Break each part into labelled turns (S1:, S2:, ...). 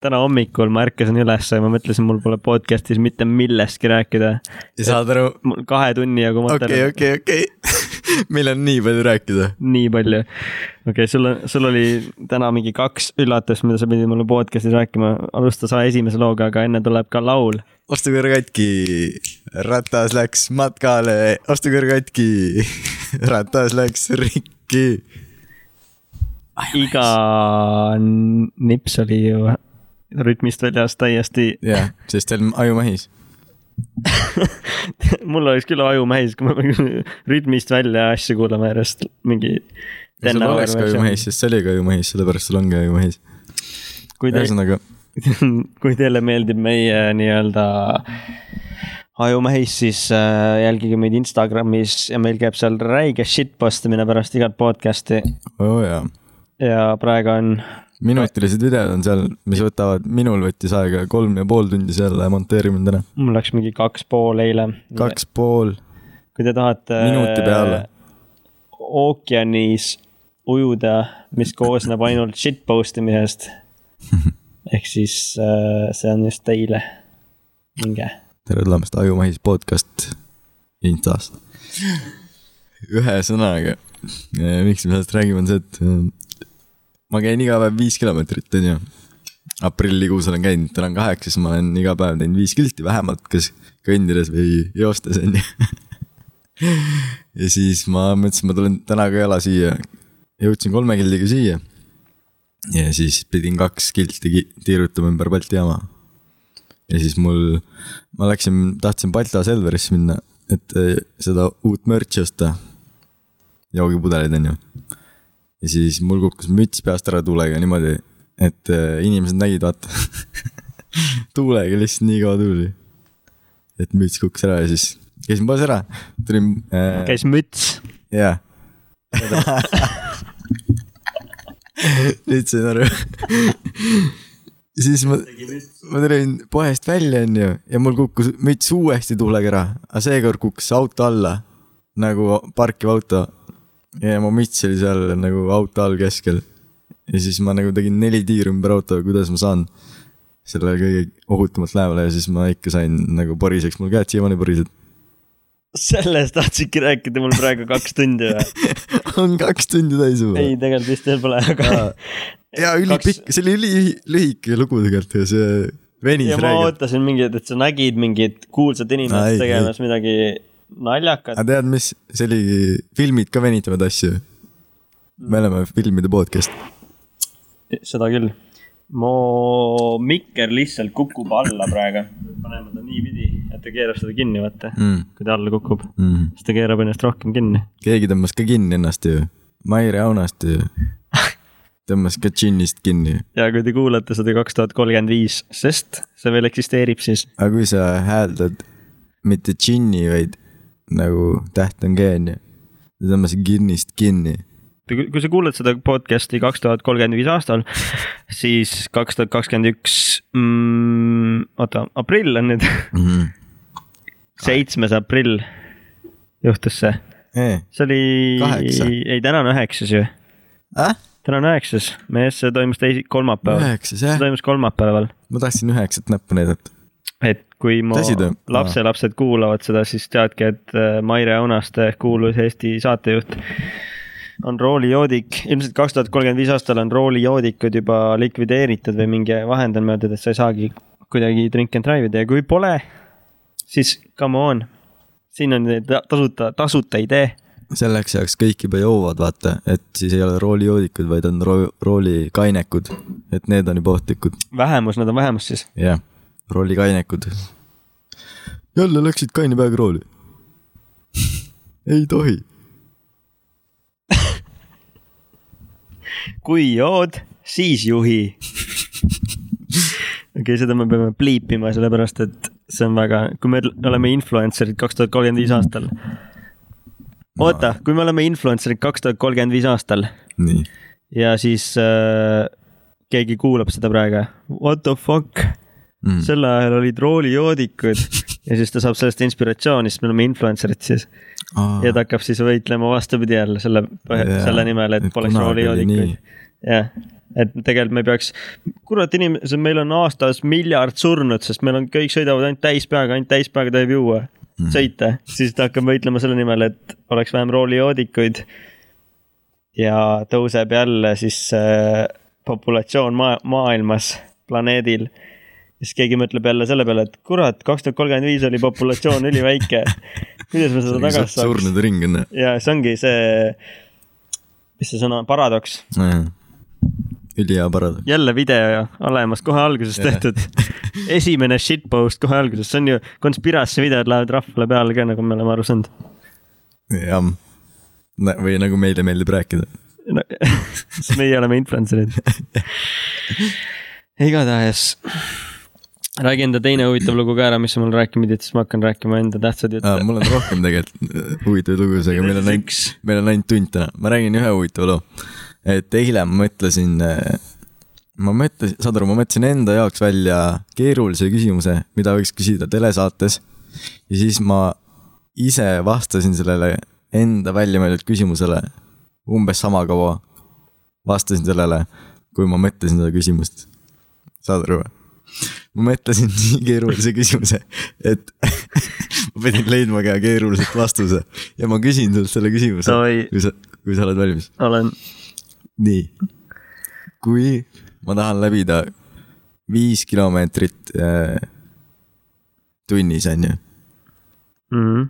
S1: täna hommikul ma ärkasin ülesse ja ma mõtlesin, mul pole podcast'is mitte millestki rääkida.
S2: ja saad aru,
S1: mul kahe tunni jagu
S2: okei ,
S1: materjali okay, ,
S2: okei , okei . meil on nii palju rääkida .
S1: okay. nii palju. okei okay, , sul on , sul oli täna mingi kaks üllatust , mida sa pidid mulle podcast'is rääkima , alusta sa esimese looga , aga enne tuleb ka laul .
S2: ostu kõrv katki , ratas läks matkale , ostu kõrv katki , ratas läks rikki .
S1: iga nips oli ju rütmist väljas täiesti ,
S2: jah , sest see on ajumehis .
S1: mul oleks küll aju mähis , kui ma peaks rütmist välja asju kuulama järjest mingi .
S2: sul
S1: nagu
S2: oleks ka ajumehis , sest see oli ka ajumehis , sellepärast sul ongi ajumehis .
S1: kui te ,
S2: ühesõnaga ,
S1: kui teile meeldib meie nii-öelda ajumehis , siis äh, jälgige meid Instagramis ja meil käib seal räige shit postimine pärast igat podcast'i
S2: oo oh, jaa
S1: ja praegu on
S2: minutilised videod on seal , mis võtavad , minul võttis aega kolm ja pool tundi selle monteerimine täna .
S1: mul läks mingi kaks pool eile .
S2: kaks pool ,
S1: kui te tahate .
S2: Minuti
S1: Äh,
S2: peale. .
S1: ookeanis ujuda , mis koosneb ainult shit post imisest . ehk siis äh, see on just teile . minge .
S2: tere tulemast Ajumahis podcast Instast . ühesõnaga , miks me sellest räägime , on see , et eh, ma käin iga päev viis kilomeetrit , onju . aprillikuus olen käinud , täna on kaheksas , ma olen iga päev teinud viis kilti vähemalt , kas kõndides või joostes , onju . ja siis ma mõtlesin , ma tulen täna ka jala siia . jõudsin kolme kildiga siia . ja siis pidin kaks kilti ki- tiirutama ümber Balti jaama ja siis mul , ma läksin , tahtsin Balta Selverisse minna , et eh, seda uut mürtsi osta . joogipudeleid , onju . ja siis mul kukkus müts peast ära tuulega niimoodi , et eh, inimesed nägid , vaata . tuulega lihtsalt nii kaua tuuli . et müts kukkus ära ja siis käisin poes ära , tulin äh, ,
S1: käis müts .
S2: jaa . nüüd sain aru . siis ma ma tulin poest välja , onju , ja mul kukkus müts uuesti tuulega ära , aga seekord kukkus auto alla nagu parkiv auto . ja mu müts oli seal nagu auto all keskel . ja siis ma nagu tegin neli tiiru ümber auto , kuidas ma saan sellele kõige ohutumalt lähemale ja siis ma ikka sain nagu poriseks , mul käed siiamaani porisevad .
S1: sellest tahtsidki rääkida mul praegu kaks tundi või ?
S2: on kaks tundi täis juba .
S1: ei , tegelikult vist veel pole , aga .
S2: ja ülipikk , see oli ülilühike lugu tegelikult ja see venis
S1: ja ma
S2: räigelt .
S1: ootasin mingit , et sa nägid mingit kuulsat
S2: Ai,
S1: inimest
S2: ei.
S1: tegemas midagi naljakat .
S2: aga tead , mis , see oligi , filmid ka venitavad asju .
S1: Mm.
S2: me oleme filmide podcast .
S1: seda küll . mu mikker lihtsalt kukub alla praegu . paneme ta niipidi , et ta keerab seda kinni , vaata mm. .
S2: mm. .
S1: kui ta alla kukub ,
S2: Mm.
S1: siis ta keerab ennast rohkem kinni .
S2: keegi tõmbas ka kinni ennast ju , Maire Aunast ju . tõmbas ka džinnist kinni ,
S1: ja kui te kuulate seda kaks tuhat kolmkümmend viis , sest see veel eksisteerib , siis
S2: aga kui sa hääldad mitte džinni , vaid nagu täht on G on ju . ta tõmbas kinnist kinni .
S1: kui kui sa kuulad seda podcast'i kaks tuhat kolmkümmend viis aastal , siis kaks tuhat kakskümmend üks , oota , aprill on nüüd , seitsmes aprill juhtus see .
S2: Eh,
S1: see oli
S2: Kaheksa. ,
S1: ei täna on üheksas ju , Ah? täna on üheksas , meie see toimus teisi , kolmapäeval .
S2: üheksas
S1: see
S2: jah ,
S1: toimus kolmapäeval ,
S2: ma tahtsin üheksat näppu näidata .
S1: et kui mu
S2: Tõsi ta-
S1: lapselapsed kuulavad seda , siis teadke , et äh, Maire Aunaste , kuulus Eesti saatejuht , on roolijoodik , ilmselt kaks tuhat kolmkümmend viis aastal on roolijoodikud juba likvideeritud või mingi vahend on möödunud , et sa ei saagi kuidagi drink and drive ida ja kui pole , siis come on , siin on ta- tasuta , tasuta idee ,
S2: selleks ajaks kõik juba joovad , vaata , et siis ei ole roolijoodikud , vaid on ro- , roolikainekud . et need on juba ohtlikud .
S1: vähemus , nad on vähemus siis .
S2: jah , rollikainekud . jälle läksid kaine peaga rooli . ei tohi .
S1: kui jood , siis juhi . okei , seda me peame pliipima , sellepärast et see on väga , kui me oleme influencer'id kaks tuhat kolmkümmend viis aastal . oota , kui me oleme influencer'id kaks tuhat kolmkümmend viis aastal
S2: nii ,
S1: ja siis äh, keegi kuulab seda praegu , what the fuck
S2: Mm.
S1: mm. , sel ajal olid roolijoodikud ja siis ta saab sellest inspiratsiooni , sest me oleme influencer'id siis ja ta hakkab siis võitlema vastupidi jälle selle ,
S2: Jaa,
S1: selle nimel , et
S2: et
S1: poleks
S2: kunagi oli
S1: roolijoodikuid . jah , et tegelikult me peaks, kurat inimesed, meil on aastas miljard surnut, sest meil on, kõik sõidavad ainult täis peaga, ainult täis peaga tohib juua
S2: Mhm.
S1: mm., sõita, siis ta hakkab võitlema selle nimel, et oleks vähem roolijoodikuid. ja tõuseb jälle siis äh, populatsioon maa, maailmas, planeedil. siis keegi mõtleb jälle selle peale, et kurat, kaks tuhat kolmkümmend viis oli populatsioon üliväike. kuidas me seda tagasi saaks?
S2: surnud ring on .
S1: ja see ongi see , mis see sõna on , paradoks
S2: ülihea paradoks .
S1: jälle video ja olemas kohe alguses
S2: Jah.
S1: tehtud . esimene shitpost kohe alguses , see on ju konspiratsiooni videod lähevad rahvale peale ka , nagu me oleme aru saanud
S2: jah . või nagu meile meeldib rääkida .
S1: no, . sest meie oleme influencer'id . igatahes räägin enda teine huvitav lugu ka ära , mis sa mul rääkima pidid , siis ma hakkan rääkima enda tähtsaid jutte
S2: mul on rohkem tegelikult huvitavaid lugusid , aga meil on ainult ,
S1: üks .
S2: meil on ainult tund täna . ma räägin ühe huvitava loo . et eile ma mõtlesin , ma mõtlesin , saad aru , ma mõtlesin enda jaoks välja keerulise küsimuse , mida võiks küsida telesaates . ja siis ma ise vastasin sellele enda välja mõeldud küsimusele umbes sama kaua . vastasin sellele , kui ma mõtlesin seda küsimust . saad aru või ? ma mõtlesin nii keerulise küsimuse , et ma pidin leidma ka keeruliselt vastuse ja ma küsin sult selle küsimuse ,
S1: Davai.
S2: kui sa , kui sa oled valmis .
S1: olen ,
S2: nii . kui ma tahan läbida viis kilomeetrit äh, tunnis , on ju ,
S1: Mhm.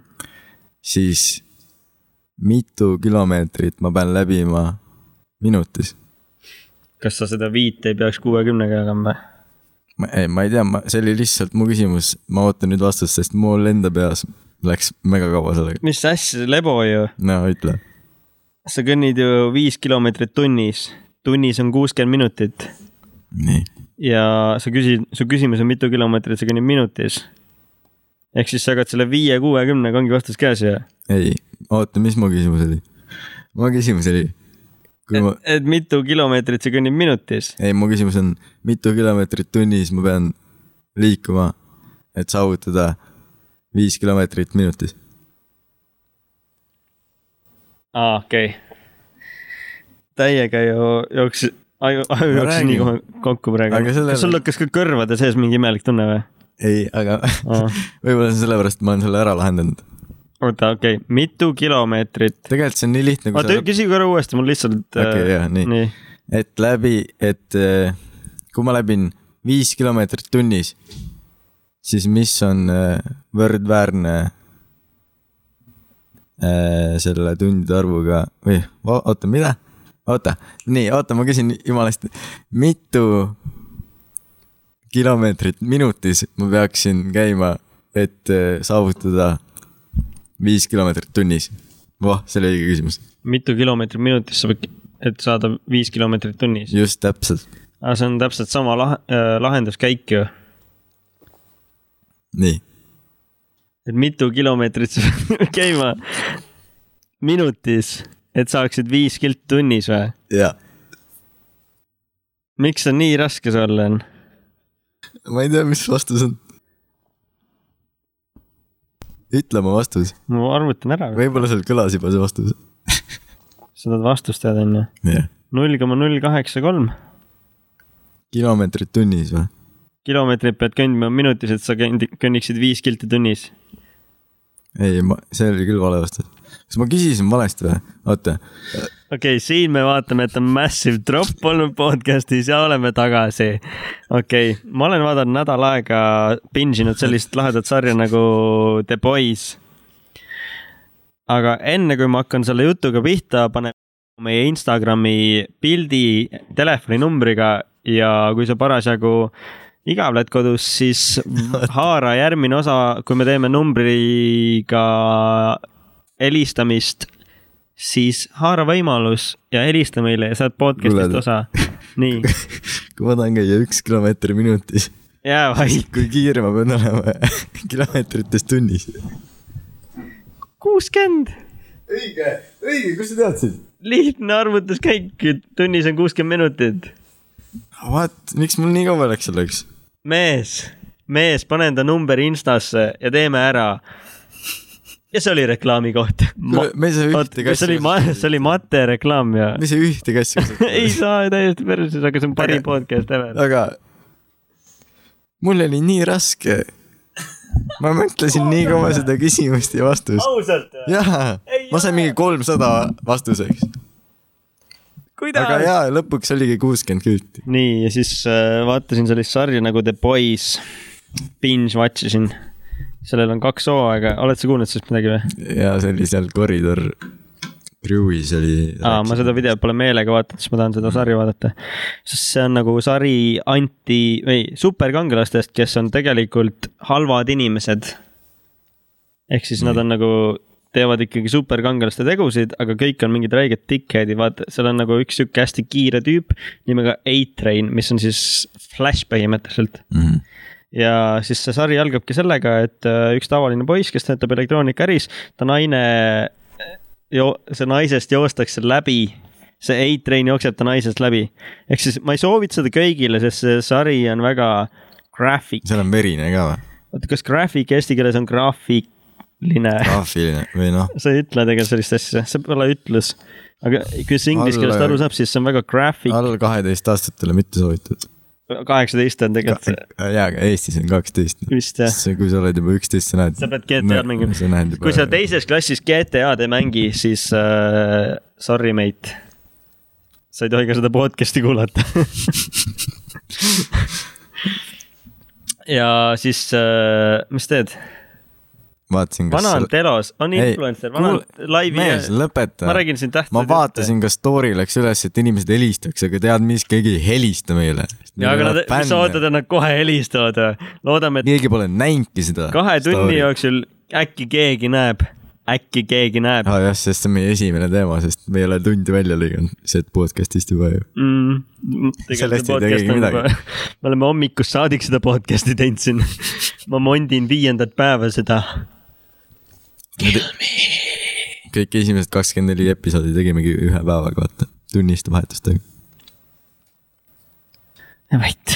S2: siis mitu kilomeetrit ma pean läbima minutis ?
S1: kas sa seda viite ei peaks kuuekümnega jagama ?
S2: ma ei , ma ei tea , ma , see oli lihtsalt mu küsimus , ma ootan nüüd vastust , sest mul enda peas läks mega kaua sellega .
S1: mis asja , lebo ju ,
S2: no ütle ,
S1: sa kõnnid ju viis kilomeetrit tunnis , tunnis on kuuskümmend minutit
S2: nii ,
S1: ja sa küsid , su küsimus on mitu kilomeetrit sa kõnnid minutis . ehk siis sa hakkad selle viie kuuekümnega ongi vastus käes ju .
S2: ei , oota , mis mu küsimus oli ? mu küsimus oli , kui ma ,
S1: et mitu kilomeetrit sa kõnnid minutis .
S2: ei , mu küsimus on , mitu kilomeetrit tunnis ma pean liikuma , et saavutada viis kilomeetrit minutis ?
S1: aa , okei okay. . täiega ju jooksis , aju , aju
S2: Ma
S1: jooksis nii
S2: räägin.
S1: kohe kokku praegu .
S2: Aga sellele-
S1: kas sul hakkas ka kõrvade sees mingi imelik tunne või ?
S2: ei , aga
S1: Aa.
S2: võib-olla see on sellepärast , et ma olen selle ära lahendanud .
S1: oota , okei okay. , mitu kilomeetrit ?
S2: tegelikult see on nii lihtne , kui
S1: oota , küsi korra uuesti , mul lihtsalt .
S2: Okei, jah, nii.
S1: nii ,
S2: et läbi , et eh, kui ma läbin viis kilomeetrit tunnis , siis mis on eh, võrdväärne eh, selle tundide arvuga või va- oota , mida ? oota , nii , oota , ma küsin jumala hästi , mitu kilomeetrit minutis ma peaksin käima , et eh, saavutada viis kilomeetrit tunnis ? voh , see oli õige küsimus ,
S1: mitu kilomeetrit minutis sa pead , et saada viis kilomeetrit tunnis ?
S2: just täpselt ,
S1: aga see on täpselt sama lah- , lahenduskäik ju .
S2: nii
S1: et mitu kilomeetrit sa pead käima minutis , et saaksid viis kilti tunnis või ?
S2: ja
S1: miks see nii raske sulle on ?
S2: ma ei tea , mis vastus on . ütle oma vastus ,
S1: ma arvutan ära ,
S2: võib-olla seal kõlas juba see vastus .
S1: sa tahad vastust teada , onju .
S2: jah ,
S1: null koma null kaheksa kolm
S2: kilomeetrit tunnis või ?
S1: kilomeetrit pead kõndima minutis , et sa kõndi- kõnniksid viis kilti tunnis .
S2: ei , ma , see oli küll vale vastus . kas ma küsisin valesti või ? oota ,
S1: okei okay, , siin me vaatame , et on massive drop olnud podcast'is ja oleme tagasi . okei okay. , ma olen vaadanud nädal aega , binge inud sellist lahedat sarja nagu The Boys . aga enne kui ma hakkan selle jutuga pihta , pane meie Instagrami pildi telefoninumbriga ja kui sa parasjagu igavled kodus , siis haara järgmine osa , kui me teeme numbriga helistamist , siis haara võimalus ja helista meile ja saad podcast'ist
S2: Kuuled?
S1: osa . nii ,
S2: kui ma tahan käia üks kilomeeter minutis ,
S1: jää vait .
S2: kui kiire ma pean olema kilomeetrites tunnis ?
S1: kuuskümmend ,
S2: õige , õige , kust sa teadsid ?
S1: lihtne arvutuskäik , tunnis on kuuskümmend minutit .
S2: What , miks mul nii kaua läks selleks ?
S1: mees , mees , pane enda number Instasse ja teeme ära . ja see oli reklaami koht .
S2: me ei saa ühte
S1: see
S2: kassi
S1: oli , see oli Mate reklaam ja
S2: me ei saa ühte kassi
S1: ei saa täiesti perses , aga see on parim
S2: Aga-
S1: podcast ever .
S2: aga mul oli nii raske . ma mõtlesin nii kaua seda küsimust ja vastust .
S1: ausalt ?
S2: jaa ,
S1: Ei
S2: ma sain
S1: ole.
S2: mingi kolmsada vastuseks , aga
S1: kuidas ?
S2: jaa , lõpuks oligi kuuskümmend kilti .
S1: nii , ja siis äh, vaatasin sellist sarja nagu The Boys . Binge watch isin . sellel on kaks hooaega , oled sa kuulnud sellest midagi või ?
S2: ja see oli seal koridor , Brewis oli .
S1: aa , ma seda videot pole meelega vaadanud , sest ma tahan seda sarja vaadata . sest see on nagu sari anti , ei , superkangelastest , kes on tegelikult halvad inimesed . ehk siis nad on nagu , teevad ikkagi superkangelaste tegusid , aga kõik on mingid räiged dickhead'id , vaata , seal on nagu üks sihuke hästi kiire tüüp nimega A-Train , mis on siis Flash põhimõtteliselt .
S2: mm .
S1: ja siis see sari algabki sellega , et äh, üks tavaline poiss , kes töötab elektroonikaäris , ta naine , see naisest joostakse läbi , see A-train jookseb ta naisest läbi . ehk siis ma ei soovita seda kõigile , sest see sari on väga graphic ,
S2: seal on verine ka või ?
S1: oota kas graphic eesti keeles on graafiline ?
S2: graafiline või noh ,
S1: sa ei ütle tegelikult sellist asja , see pole ütlus . aga kes inglise keelest
S2: Alla-
S1: aru saab , siis see on väga graphic ,
S2: alla kaheteistaastastele mitte soovitud .
S1: kaheksateist on tegelikult
S2: jaa , aga Eestis on kaksteist .
S1: vist jah .
S2: see , kui sa oled juba üksteist , sa näed .
S1: Sa pead GTA-d mängima.
S2: sa näed juba .
S1: kui sa teises klassis GTA-d ei mängi , siis äh, sorry , mate . sa ei tohi ka seda podcast'i kuulata . ja siis äh, , mis teed ?
S2: vaatasin , kas
S1: vana on
S2: seal-
S1: telos , on
S2: Ei,
S1: influencer , vana on
S2: kuule-
S1: laivi
S2: mees ,, lõpeta .
S1: ma räägin siin tähtsa .
S2: ma vaatasin , kas story läks üles , et inimesed helistaks , aga tead mis , keegi ei helista meile .
S1: ja aga nad , mis sa ootad , et nad kohe helistavad või ? loodame , et
S2: keegi pole näinudki seda .
S1: kahe tunni . jooksul äkki keegi näeb , äkki keegi näeb
S2: aa jah , sest see on meie esimene teema , sest me ei ole tundi välja lõiganud sellest podcast'ist juba ju .
S1: mm, .
S2: Sellest ei tegegi midagi. .
S1: me oleme hommikust saadik seda podcast'i teinud siin . ma mondin viiendat päeva seda .
S2: kõik esimesed kakskümmend neli episoodi tegimegi ühe päevaga , vaata , tunniste vahetustega .
S1: vait ,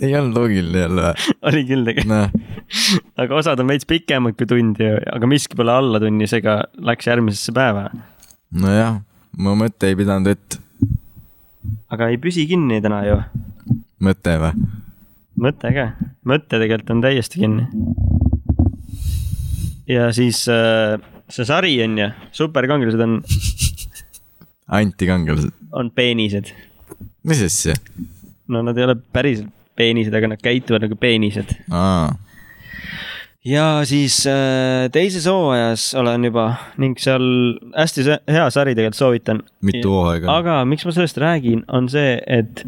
S2: ei olnud loogiline jälle ,
S1: oli küll tegelikult ,
S2: noh ,
S1: aga osad on veits pikemad kui tund ja , aga miski pole alla tunni , seega läks järgmisesse päeva .
S2: nojah , mu mõte ei pidanud vett ,
S1: aga ei püsi kinni täna ju ,
S2: mõte või ?
S1: mõte ka , mõte tegelikult on täiesti kinni . ja siis äh, see sari on ju , superkangelased on ,
S2: antikangelased ,
S1: on peenised .
S2: mis asja ?
S1: no nad ei ole päriselt peenised , aga nad käituvad nagu peenised
S2: aa ,
S1: ja siis äh, teises hooajas olen juba ning seal hästi se- hea sari tegelikult soovitan .
S2: mitu hooaega ?
S1: aga miks ma sellest räägin , on see , et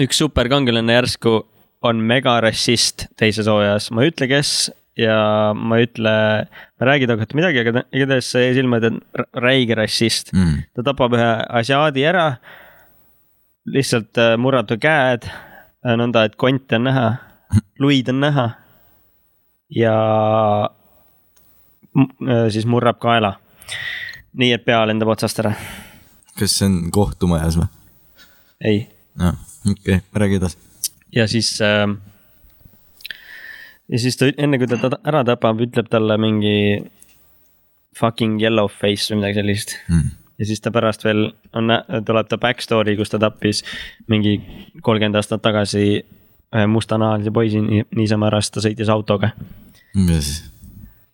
S1: üks superkangelane järsku on megarassist teises hooajas , ma ei ütle , kes ja ma ei ütle , ma ei räägi temaga midagi , aga ta- igatahes see jäi silma , et ta on r- räige rassist .
S2: Mm.
S1: ta tapab ühe asiaadi ära , lihtsalt äh, murrab ta käed , nõnda et konti on näha , luid on näha ja m- äh, siis murrab kaela . nii et pea lendab otsast ära ,
S2: kas see on kohtumajas või ?
S1: ei ,
S2: aa , okei okay. , räägi edasi .
S1: ja siis äh, ja siis ta , enne kui ta ta ära tapab , ütleb talle mingi fucking yellow face või midagi sellist
S2: Mm.
S1: ja siis ta pärast veel on , tuleb ta back story , kus ta tappis mingi kolmkümmend aastat tagasi ühe mustanahalise poisi nii- niisama ära , sest ta sõitis autoga .
S2: ja siis ,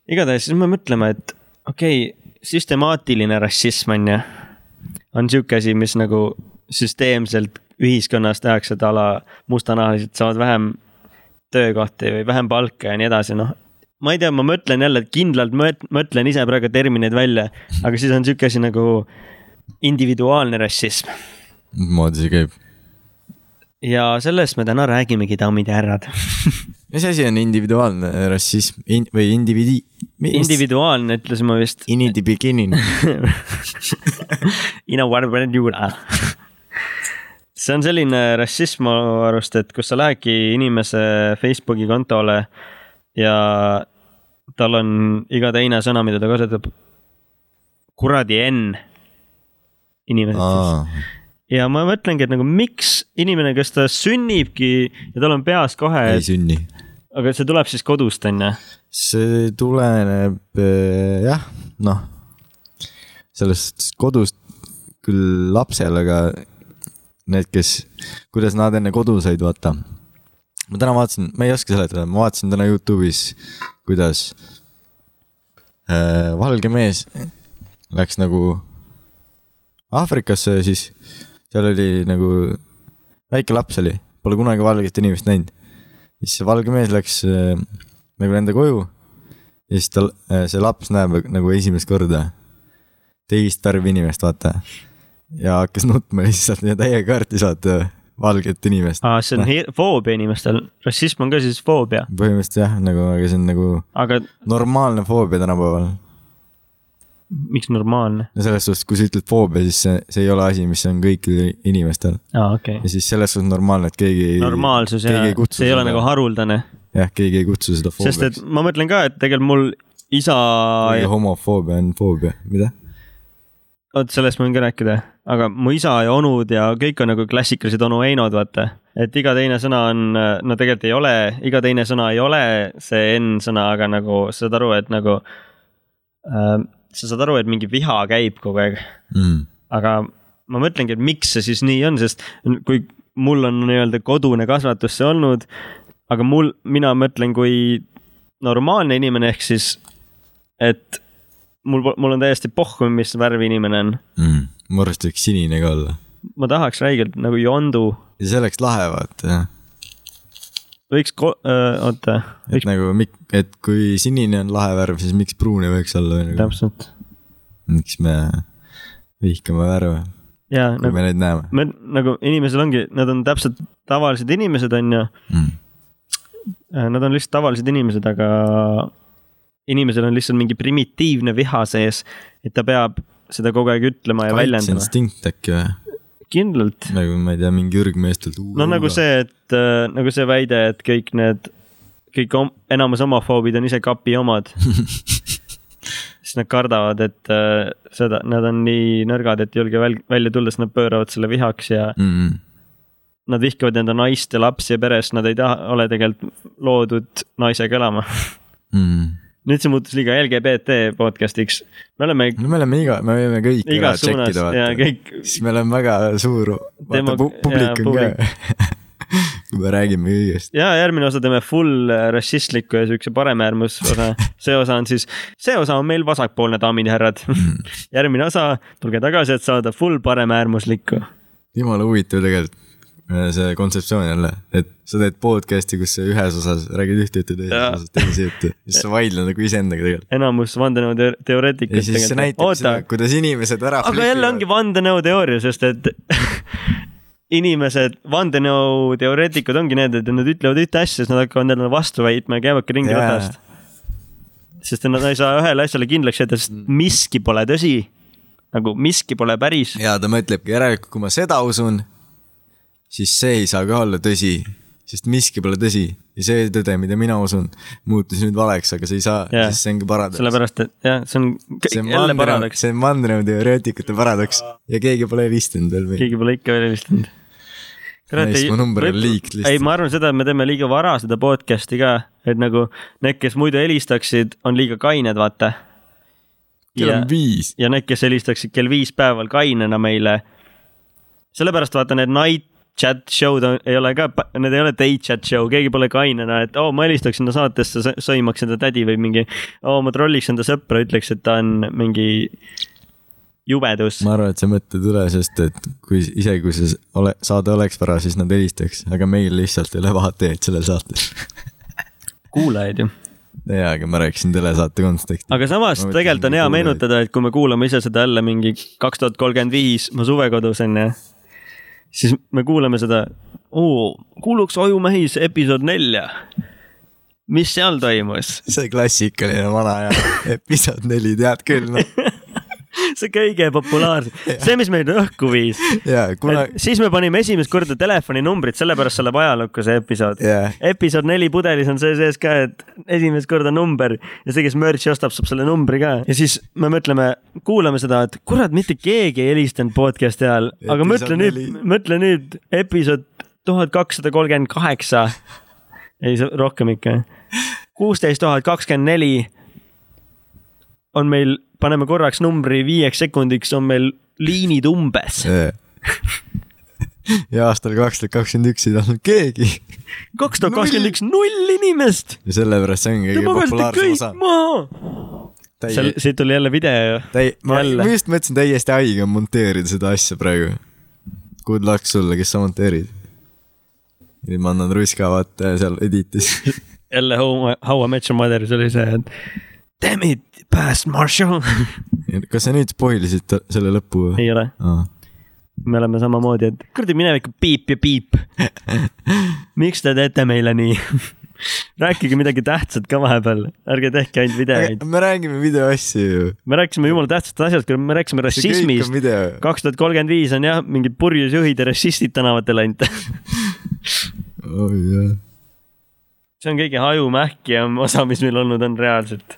S1: igatahes siis me mõtleme , et okei okay, , süstemaatiline rassism on ju , on sihuke asi , mis nagu süsteemselt ühiskonnas tehakse , et a la mustanahalised saavad vähem töökohti või vähem palka ja nii edasi , noh . ma ei tea , ma mõtlen jälle , kindlalt mõt- mõtlen ise praegu termineid välja , aga siis on sihuke asi nagu individuaalne rassism
S2: mismoodi see käib ?
S1: ja sellest me täna räägimegi , daamid ja härrad .
S2: mis asi on individuaalne rassism in, või indiviidi ?
S1: individuaalne , ütlesin ma vist .
S2: In the beginning
S1: you know what when you are . see on selline rassism mu arust , et kus sa lähedki inimese Facebooki kontole ja tal on iga teine sõna , mida ta kasutab . kuradi N . inimesed siis .
S2: aa ,
S1: ja ma mõtlengi , et nagu miks inimene , kes ta sünnibki ja tal on peas kohe ,
S2: ei
S1: et
S2: sünni .
S1: aga see tuleb siis kodust , on ju ?
S2: see tuleneb eh, jah , noh , sellest kodust küll lapsel , aga need , kes , kuidas nad enne kodu said , vaata . ma täna vaatasin , ma ei oska seletada , ma vaatasin täna Youtube'is , kuidas äh, valge mees läks nagu Aafrikasse ja siis seal oli nagu väike laps oli , pole kunagi valget inimest näinud . siis see valge mees läks äh, nagu nende koju ja siis tal , see laps näeb nagu esimest korda teist värvi inimest , vaata . ja hakkas nutma lihtsalt ja täiega kaarti saata valget inimest .
S1: aa , Ah, see on
S2: Noh.
S1: hir- foobia inimestel , rassism on ka siis foobia ,
S2: põhimõtteliselt jah , nagu , aga see on nagu
S1: aga
S2: normaalne foobia tänapäeval .
S1: miks normaalne ?
S2: no selles suhtes , kui sa ütled foobia , siis see , see ei ole asi , mis on kõikidel inimestel .
S1: aa , okei
S2: ja siis selles suhtes normaalne , et keegi ei .
S1: normaalsus ja see ei ole nagu . haruldane ,
S2: jah , keegi ei kutsu seda
S1: sest et
S2: foobiaks .
S1: ma mõtlen ka , et tegelikult mul isa ,
S2: ja homofoobia on foobia , mida ?
S1: vot sellest ma võin ka rääkida , aga mu isa ja onud ja kõik on nagu klassikalised onu Einod , vaata . et iga teine sõna on , no tegelikult ei ole , iga teine sõna ei ole see N-sõna , aga nagu saad aru , et nagu äh, . sa saad aru , et mingi viha käib kogu aeg
S2: Mm.
S1: aga ma mõtlengi , et miks see siis nii on , sest kui mul on nii-öelda kodune kasvatus see olnud , aga mul , mina mõtlen kui normaalne inimene , ehk siis , et mul , mul on täiesti pohhu , mis värvi inimene on .
S2: Mm. mu arust võiks sinine ka olla .
S1: ma tahaks räigelt nagu Yondu ,
S2: ja see oleks lahe , vaata jah .
S1: võiks ko- , oota ,
S2: et
S1: võiks
S2: nagu , et kui sinine on lahe värv , siis miks pruun ei võiks olla või nagu ,
S1: täpselt
S2: miks me vihkame värve ,
S1: ja
S2: kui
S1: nagu,
S2: me neid näeme
S1: me, nagu inimesel ongi , nad on täpselt tavalised inimesed , on ju
S2: mm. .
S1: Äh, Nad on lihtsalt tavalised inimesed , aga inimesel on lihtsalt mingi primitiivne viha sees , et ta peab seda kogu aeg ütlema ja väljendama .
S2: instinkt äkki või ,
S1: kindlalt .
S2: nagu ma ei tea , mingi ürgmeestelt .
S1: no nagu . see , et äh, nagu see väide , et kõik need , kõik om, enamus homofoobid on ise kapi omad . siis nad kardavad , et äh, seda , nad on nii nõrgad , et ei julge väl, välja tulla , siis nad pööravad selle vihaks ja
S2: Mm.
S1: nad vihkavad enda naist ja lapsi ja perest , nad ei taha , ole tegelikult loodud naisega elama .
S2: Mm.
S1: nüüd see muutus liiga LGBT podcast'iks . me oleme
S2: no me oleme iga , me võime kõik ära
S1: igas suunas
S2: tšekkida
S1: ja
S2: vaata .
S1: kõik ,
S2: siis me oleme väga suur , vaata
S1: Demo-
S2: pu- publik
S1: jaa,
S2: on ka . kui me räägime kõigest .
S1: ja järgmine osa teeme full äh, rassistliku ja siukse paremäärmus osa . see osa on siis , see osa on meil vasakpoolne , daamid ja härrad .
S2: Mhm.
S1: järgmine osa , tulge tagasi , et saada full paremäärmuslikku .
S2: jumala huvitav tegelikult äh, see kontseptsioon jälle , et sa teed podcast'i , kus sa ühes osas räägid ühte juttu , teises
S1: Jaa.
S2: osas teise juttu ja siis sa vaidled nagu iseendaga tegelikult .
S1: enamus
S2: ja
S1: vandenõuteoreetikud
S2: siis see näitab seda
S1: oota ,,
S2: kuidas inimesed ära .
S1: aga jälle ongi . vandenõuteooria , sest et inimesed , vandenõuteoreetikud ongi need , et nad ütlevad ühte asja , siis nad hakkavad endale vastu väitma ja käivadki ringi
S2: Jaa.
S1: ratast . sest et nad ei saa ühele asjale kindlaks jääda , sest
S2: Mm.
S1: miski pole tõsi . nagu miski pole päris .
S2: ja ta mõtlebki , järelikult kui ma seda usun , siis see ei saa ka olla tõsi , sest miski pole tõsi ja see tõde , mida mina usun , muutus nüüd valeks , aga see ei saa
S1: Jaa.
S2: yeah. , sest see ongi paradoks .
S1: sellepärast , et jah , see on kõik
S2: see on
S1: jälle
S2: mandrev ,
S1: paradoks ,
S2: see on mandrev-teoreetikute paradoks ja keegi pole helistanud veel või ?
S1: keegi pole ikka veel helistanud .
S2: Nice, mu number on leaked lihtsalt.
S1: ei , ma arvan seda , et me teeme liiga vara seda podcast'i ka , et nagu need , kes muidu helistaksid , on liiga kained , vaata .
S2: kell on viis .
S1: ja need , kes helistaksid kell viis päeval kainena meile . sellepärast vaata need night chat show'd on, ei ole ka , need ei ole day chat show , keegi pole kainena , et oo oh, , ma helistaks sinna saatesse , sõimaks enda tädi või mingi . oo , ma trolliks enda sõpra , ütleks , et ta on mingi jubedus .
S2: ma arvan , et see mõte ei tule , sest et kui isegi kui see ole, saade oleks vara , siis nad helistaks , aga meil lihtsalt ei ole vaateid sellel saatel .
S1: kuulajaid ju .
S2: jaa , aga ma rääkisin telesaate konteksti .
S1: aga samas
S2: Ma mõtlesin,
S1: tegelikult on
S2: mingi
S1: hea
S2: kuulajaid.
S1: meenutada , et kui me kuulame ise seda jälle mingi kaks tuhat kolmkümmend viis , ma suvekodus onju . siis me kuulame seda , oo , kuuluks Ojumehis episood nelja . mis seal toimus ?
S2: see klassikaline vana aja episood neli , tead küll , noh .
S1: see kõige populaarsem , see , mis meid õhku viis .
S2: jaa , kuna ,
S1: siis me panime esimest korda telefoninumbrit , sellepärast see läheb ajalukku , see episood .
S2: jaa ,
S1: episood neli pudelis on see sees ka , et esimest korda number ja see , kes merch'i ostab , saab selle numbri ka ja siis me mõtleme , kuulame seda , et kurat , mitte keegi ei helistanud podcast'i ajal , aga
S2: Episood
S1: mõtle nüüd
S2: neli. ,
S1: mõtle nüüd episood tuhat kakssada kolmkümmend kaheksa . ei , rohkem ikka . kuusteist tuhat kakskümmend neli on meil , paneme korraks numbri viieks sekundiks , on meil liinid umbes .
S2: ja aastal kaks tuhat kakskümmend üks ei tahtnud keegi
S1: kaks tuhat kakskümmend üks , null inimest .
S2: ja sellepärast see ongi kõige
S1: tõmbame
S2: populaarsem
S1: kõik
S2: osa .
S1: maha . seal , siit tuli jälle video ju .
S2: täi- , ma
S1: jälle.
S2: ma just mõtlesin , täiesti haige on monteerida seda asja praegu . Good luck sulle , kes sa monteerid . nüüd ma annan ruska vaata seal editis .
S1: jälle How , How I Met Your Mother , see oli see , et damn it , past Marshall .
S2: kas sa nüüd spoilisid ta- selle lõpu või ?
S1: ei ole , me oleme samamoodi , et kuradi mineviku piip ja piip . miks te teete meile nii ? rääkige midagi tähtsat ka vahepeal , ärge tehke ainult videoid .
S2: me räägime videoasju ju .
S1: me rääkisime jumala tähtsatest asjast , me rääkisime rassismist .
S2: video .
S1: kaks tuhat kolmkümmend viis on jah , mingid purjus juhid ja rassistid tänavatele ainult .
S2: oi jah .
S1: see on kõige hajumähkijam osa , mis meil olnud on reaalselt .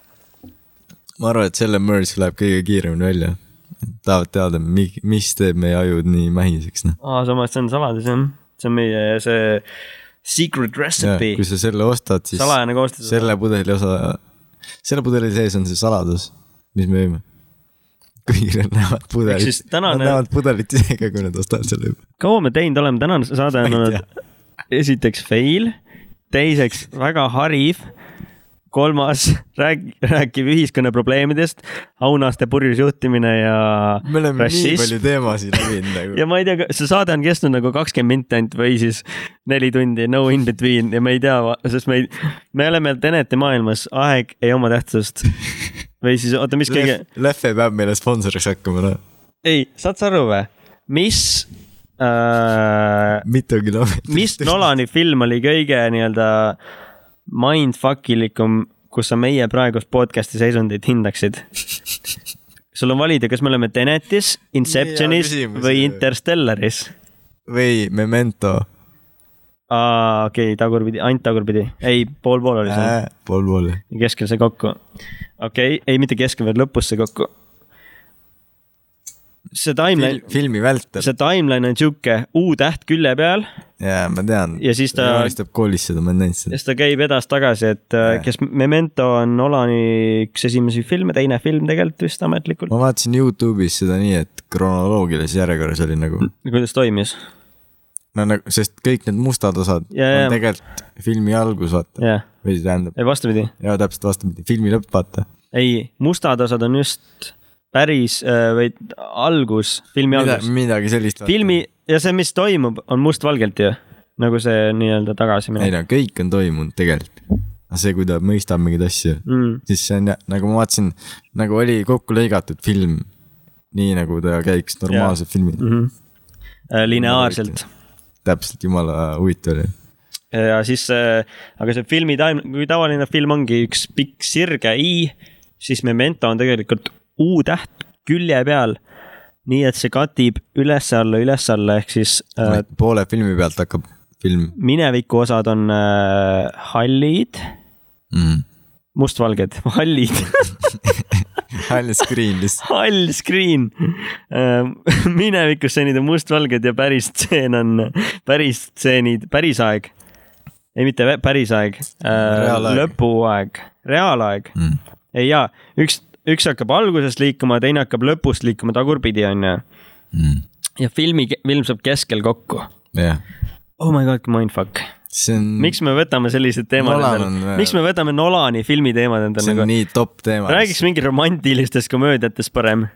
S2: ma arvan , et selle merge läheb kõige kiiremini välja . tahavad teada , mi- , mis teeb meie ajud nii mähiseks , noh .
S1: aa , samas see on saladus jah , see on meie see secret recipe .
S2: kui sa selle ostad , siis
S1: salajane koostis .
S2: selle pudeli osa , selle pudeli sees on see saladus , mis me jõime . kuigi nad näevad
S1: Ehk siis
S2: pudelit ,
S1: tänane-
S2: nad näevad pudelit ise ka , kui nad ostavad selle juba .
S1: kaua me teinud oleme , tänane saade on
S2: Ma ei
S1: olnud esiteks fail , teiseks väga hariv , kolmas rääg- , räägib ühiskonna probleemidest , aunaste purjus juhtimine ja
S2: me oleme Rassist. nii
S1: rassism
S2: palju teemasid läbinud nagu
S1: ja . ma ei tea , see saade on kestnud nagu kakskümmend minti ainult või siis neli tundi , no in between ja me ei tea , sest me ei , me oleme Tenete maailmas , aeg ei oma tähtsust . või siis oota , mis kõige ,
S2: Leffe peab meile sponsoriks hakkama , noh .
S1: ei , saad sa aru või , mis äh,
S2: mitu kilomeetrit .
S1: mis Nolani film oli kõige nii-öelda mindfuck ilikum , kus sa meie praegust podcast'i seisundit hindaksid ? sul on valida , kas me oleme Tenetis , Inceptionis
S2: Nii hea küsimus.
S1: või Interstellaris .
S2: või Memento
S1: aa , okei okay, , tagurpidi , ainult tagurpidi , ei , pool-pool oli see ,
S2: äh, , pool pool .
S1: keskel sai kokku . okei okay, , ei mitte keskel , vaid lõpus sai kokku . see timeline ,
S2: filmi vältel ,
S1: see timeline on sihuke U-täht külje peal
S2: jaa , ma tean .
S1: Ja siis ta-
S2: joonistab koolis seda , ma olen näinud
S1: ja
S2: seda .
S1: siis ta käib edasi-tagasi , et äh,
S2: Jah.
S1: kes Memento on Nolani üks esimesi filme , teine film tegelikult vist ametlikult .
S2: ma vaatasin Youtube'is seda nii , et kronoloogilises järjekorras oli nagu
S1: kuidas toimis ?
S2: no nagu , sest kõik need mustad osad
S1: Ja,
S2: yeah,
S1: ja.
S2: on tegelikult filmi algus , vaata yeah. .
S1: jah ,
S2: või see tähendab ,
S1: ei vastupidi ,
S2: jaa , täpselt vastupidi , filmi lõpp , vaata .
S1: ei , mustad osad on just päris äh, või algus , filmi
S2: Mida,
S1: algus .
S2: midagi sellist .
S1: filmi ja see , mis toimub , on mustvalgelt ju , nagu see nii-öelda
S2: ei
S1: tagasiminek .
S2: no kõik on toimunud tegelikult . aga see , kui ta mõistab mingeid asju ,
S1: Mm.
S2: siis see on jah , nagu ma vaatasin , nagu oli kokku lõigatud film . nii nagu ta käiks normaalse yeah. filmi ,
S1: Mm -hmm. lineaarselt
S2: täpselt jumala huvitav oli .
S1: ja siis , aga see filmi time , kui tavaline film ongi üks pikk sirge i , siis Memento on tegelikult U-täht külje peal . nii et see katib üles-alla , üles-alla ehk siis äh,
S2: poole filmi pealt hakkab film
S1: mineviku osad on äh, hallid ,
S2: mm. .
S1: mustvalged , hallid
S2: Hall screen lihtsalt ,
S1: hall screen . minevikus stseenid on mustvalged ja päris stseen on , päris stseenid , päris aeg . ei , mitte vä- päris aeg ,
S2: Reaalaeg.
S1: lõpuaeg , reaalaeg
S2: Mm. .
S1: ei jaa , üks , üks hakkab algusest liikuma , teine hakkab lõpust liikuma tagurpidi , onju .
S2: Mm.
S1: ja filmi , film saab keskel kokku .
S2: jah ,
S1: Oh my god , mindfuck .
S2: see on .
S1: miks me võtame sellised teemad
S2: Mm. Nolan
S1: endale
S2: on- ,
S1: miks me võtame Nolani filmi teemad endale
S2: see on
S1: nagu ,
S2: nii top teema .
S1: räägiks mingi romantilistest komöödiatest parem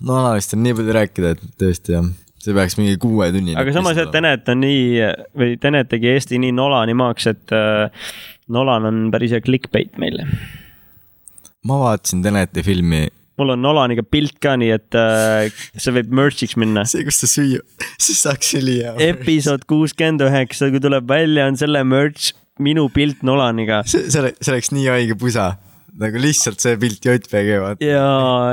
S2: no analüüsist on nii palju rääkida , et tõesti jah , see peaks mingi kuue tunni .
S1: aga samas , et . Tenet on nii või Tenet tegi Eesti nii Nolani maaks , et äh, Nolan on päris hea clickbait meile .
S2: ma vaatasin Teneti filmi ,
S1: mul on Nolaniga pilt ka , nii et äh, see võib merch'iks minna .
S2: see , kus ta süüa , siis saaks ülihea .
S1: E- episood kuuskümmend üheksa , kui tuleb välja , on selle merch , minu pilt Nolaniga .
S2: see , see oleks , see oleks nii haige pusa , nagu lihtsalt see pilt JPG vaata ,
S1: ja ,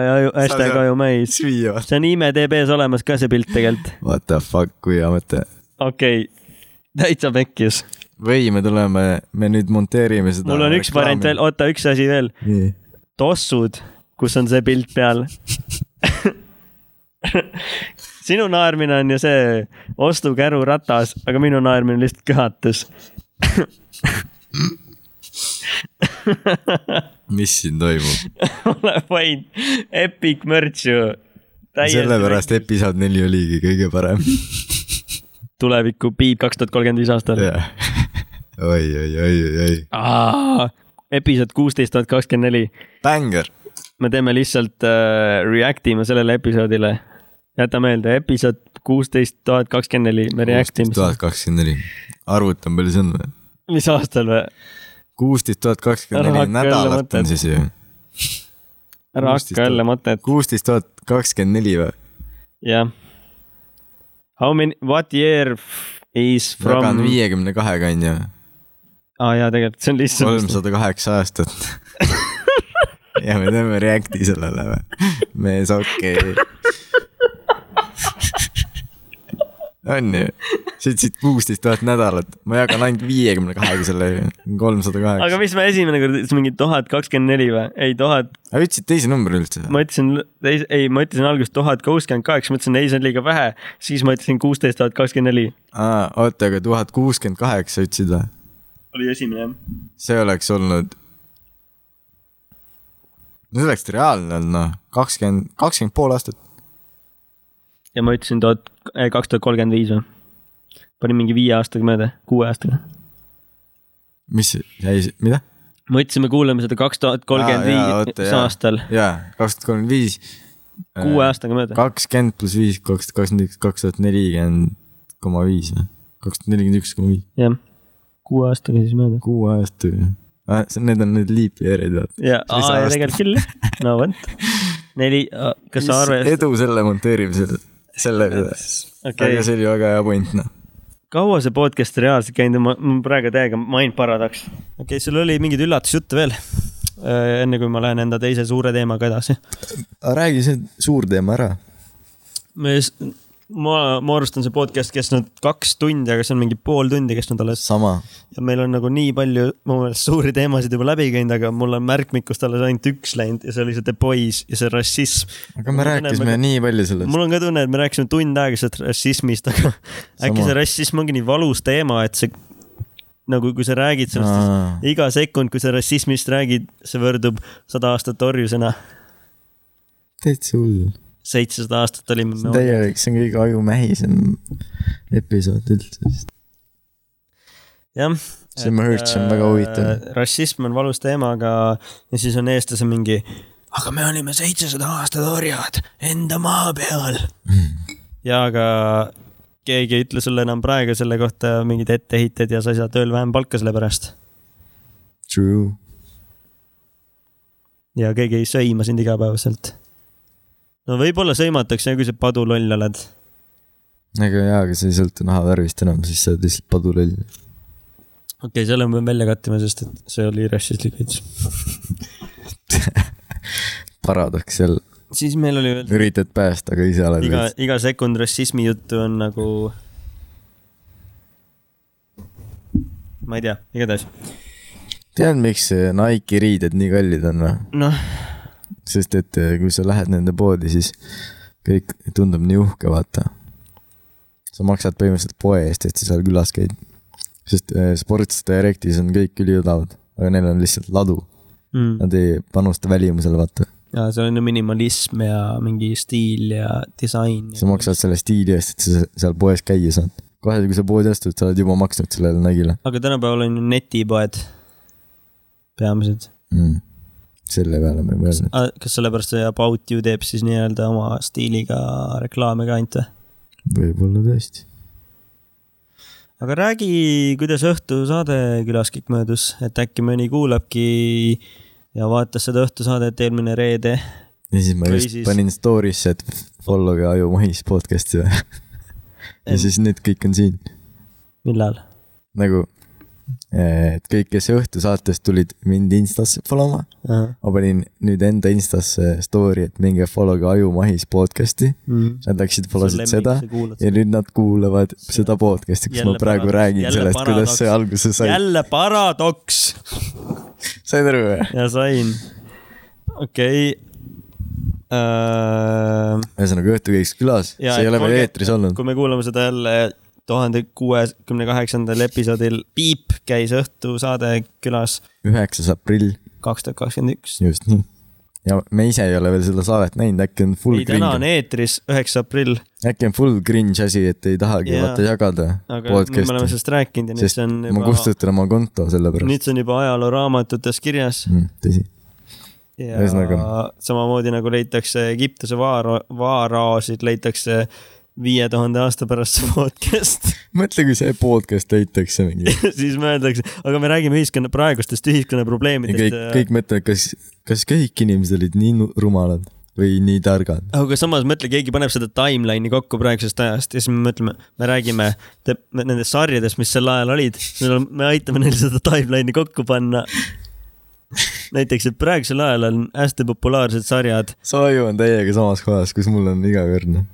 S1: ja ju- hashtag
S2: Saad-
S1: ajumais .
S2: süüa vaata .
S1: see on IMDB-s olemas ka see pilt tegelikult .
S2: What the fuck , kui hea mõte .
S1: okei okay. , täitsa pekkis .
S2: või me tuleme , me nüüd monteerime seda .
S1: mul on üks variant veel ,. oota , üks asi veel .
S2: nii ,
S1: tossud , kus on see pilt peal . sinu naermine on ju see ostukäru ratas , aga minu naermine on lihtsalt köhatus .
S2: mis siin toimub ?
S1: ole vaid epic merch ju .
S2: sellepärast episood neli oligi kõige parem .
S1: tuleviku piip kaks tuhat kolmkümmend viis aastal .
S2: oi , oi , oi , oi , oi ,
S1: episood kuusteist tuhat kakskümmend neli ,
S2: bängar .
S1: me teeme lihtsalt äh, react ime sellele episoodile . jäta meelde , episood kuusteist tuhat kakskümmend neli , me react ime ,
S2: tuhat kakskümmend neli , arvutan palju see on või ?
S1: mis aastal või ?
S2: kuusteist tuhat kakskümmend
S1: Ära
S2: neli
S1: hakka jälle
S2: nädalat
S1: mõtled.
S2: on siis ju .
S1: ära
S2: 16
S1: hakka jälle mõtet ,
S2: kuusteist tuhat kakskümmend neli või ?
S1: jah . How many , what year f- is
S2: jagan
S1: from ,
S2: viiekümne kahega on ju ,
S1: aa jaa , tegelikult see on lihtsalt ,
S2: kolmsada kaheksa aastat . ja me teeme react'i sellele või ? mees , okei okay. . on ju , sa ütlesid kuusteist tuhat nädalat , ma jagan ainult viiekümne kahega selle kolmsada
S1: aga
S2: kaheksa .
S1: mis ma esimene kord ütlesin , mingi tuhat kakskümmend neli või ? ei , tuhat ,
S2: aga ütlesid teise numbri üldse ?
S1: ma ütlesin , ei , ma ütlesin alguses tuhat kuuskümmend kaheksa , mõtlesin ei , see on liiga vähe , siis ma ütlesin kuusteist tuhat kakskümmend neli
S2: aa , oota , aga tuhat kuuskümmend kaheksa ütlesid või ?
S1: oli esimene jah .
S2: see oleks olnud . no see oleks reaalne olnud noh , kakskümmend , kakskümmend pool aastat .
S1: ja ma ütlesin tuhat , kaks tuhat kolmkümmend viis või ? panin mingi viie aastaga mööda , kuue aastaga .
S2: mis see , jäi , mida ?
S1: me ütlesime , kuulame seda kaks tuhat kolmkümmend viis aastal ,
S2: jaa , Äh, kaks tuhat kolmkümmend viis .
S1: kuue . aastaga mööda .
S2: kakskümmend pluss viis , kaks tuhat kakskümmend üks , kaks tuhat nelikümmend koma viis või ? kaks tuhat nelikümmend üks koma viis ,
S1: jah , kuue aastaga siis mööda .
S2: kuue aasta ju . Need on need liipjärjed , vaata .
S1: ja ,
S2: Siis
S1: aa ja
S2: aasta.
S1: tegelikult küll , no vot . neli , kas sa arvestad ,
S2: edu selle monteerimisel , selle üle .
S1: Okei.
S2: aga see oli väga hea point , noh .
S1: kaua see podcast reaalselt käinud on , ma ma praegu täiega mind paradaks . okei okay, , sul oli mingeid üllatusjutte veel ? enne kui ma lähen enda teise suure teemaga edasi .
S2: räägi see suur teema ära .
S1: me , ma , ma arvestan , see podcast kestnud kaks tundi , aga see on mingi pool tundi kestnud alles .
S2: sama
S1: ja meil on nagu nii palju mu meelest suuri teemasid juba läbi käinud , aga mul on märkmikust alles ainult üks läinud ja see oli see The Boys ja see rassism .
S2: aga me rääkisime nii palju sellest .
S1: mul on ka tunne , et me rääkisime tund aega sellest rassismist , aga äkki see rassism ongi nii valus teema , et see nagu , kui sa räägid sellest , siis iga sekund , kui sa rassismist räägid , see võrdub sada aastat orjusena .
S2: täitsa hull .
S1: seitsesada aastat olime
S2: see on
S1: me .
S2: täielik , see on kõige ajumähisem episood üldse vist .
S1: jah .
S2: See ma kuulsin, väga
S1: äh,
S2: huvitav. .
S1: rassism on valus teema , aga ja siis on eestlase mingi , aga me olime seitsesada aastat orjad enda maa peal . ja aga keegi ei ütle sulle enam praegu selle kohta mingeid etteheited ja sa ei saa tööl vähem palka selle pärast .
S2: True .
S1: ja keegi ei sõima sind igapäevaselt . no võib-olla sõimatakse , kui sa paduloll oled .
S2: aga jaa , aga see ei sõltu nahavärvist enam , siis sa oled lihtsalt paduloll .
S1: okei okay, , selle me peame välja kattima , sest et see oli rassistlik veits .
S2: paradoks jälle ,
S1: siis meil oli veel
S2: üritad päästa , aga ise oled
S1: iga
S2: veits ,,
S1: iga sekund rassismi juttu on nagu . ma ei tea , igatahes .
S2: tead , miks see Nike riided nii kallid on või ?
S1: noh ,
S2: sest et eh, kui sa lähed nende poodi , siis kõik tundub nii uhke , vaata . sa maksad põhimõtteliselt poe eest , et sa seal külas käid . sest eh, Sports Directis on kõik üliodavad , aga neil on lihtsalt ladu ,
S1: mm.
S2: nad ei panusta välimusele , vaata .
S1: ja seal on ju minimalism ja mingi stiil ja disain .
S2: sa maksad selle stiili eest , et sa seal poes käia saad . kohe , kui sa poodi astud , sa oled juba maksnud sellele Nike'le
S1: aga tänapäeval on ju netipoed peamised .
S2: mm. . selle peale me ei mõelnud .
S1: Ah, kas sellepärast see About You teeb siis nii-öelda oma stiiliga reklaame ka ainult või ?
S2: võib-olla tõesti .
S1: aga räägi , kuidas õhtusaade külas kõik möödus , et äkki mõni kuulabki ja vaatas seda õhtusaadet eelmine reede .
S2: ja siis ma
S1: Või
S2: just
S1: siis-
S2: siis... panin story'sse , et follow'ge Aju Mahis podcast'i ja ja siis need kõik on siin .
S1: millal ?
S2: nagu , et kõik , kes õhtusaatest tulid mind Instasse follow ma , ma panin nüüd enda Instasse story , et minge follow'ge Aju Mahis podcast'i .
S1: Mm.
S2: Nad läksid follow sid seda ja nüüd nad kuulavad seda podcast'i , kus
S1: Jälle
S2: ma praegu
S1: paradoks,
S2: räägin
S1: jälle
S2: sellest , kuidas see alguse sai .
S1: jälle paradoks
S2: said aru või ?
S1: ja sain . okei Äh, okay. .
S2: ühesõnaga õhtu käiks külas ,
S1: Ja,
S2: see ei
S1: et
S2: ole veel
S1: olge-
S2: eetris olnud .
S1: kui me kuulame seda jälle tuhande kuuekümne kaheksandal episoodil Piip käis õhtusaade külas
S2: üheksas aprill ,
S1: kaks tuhat kakskümmend üks .
S2: just nii . ja me ise ei ole veel seda saadet näinud , äkki on full
S1: ei , täna on
S2: cringe ,
S1: eetris üheksa aprill ,
S2: äkki on full cringe asi , et ei tahagi
S1: Jaa.
S2: yeah. vaata jagada
S1: aga nüüd me oleme
S2: podcast'i .
S1: sellest rääkinud ja nüüd
S2: sest
S1: see on
S2: ma
S1: juba ,
S2: kustutan oma konto selle pärast .
S1: nüüd see on juba ajalooraamatutes kirjas
S2: Mm, tõsi ,
S1: ja
S2: Mm, Ühesõnaga-
S1: samamoodi nagu leitakse Egiptuse vaaro- , vaaraosid leitakse viie tuhande aasta pärast see podcast
S2: mõtle , kui see podcast leitakse mingi
S1: siis mõeldakse , aga me räägime ühiskonna praegustest ühiskonna
S2: ja kõik
S1: probleemidest .,
S2: kõik mõtlevad , kas , kas kõik inimesed olid nii nu- rumalad või nii targad .
S1: aga samas mõtle , keegi paneb seda timeline'i kokku praegusest ajast ja siis me mõtleme , me räägime te, me, nendest sarjadest , mis sel ajal olid , me aitame neil seda timeline'i kokku panna . näiteks , et praegusel ajal on hästi populaarsed sarjad ,
S2: Saju on täiega samas kohas , kus mul on noh. igakordne .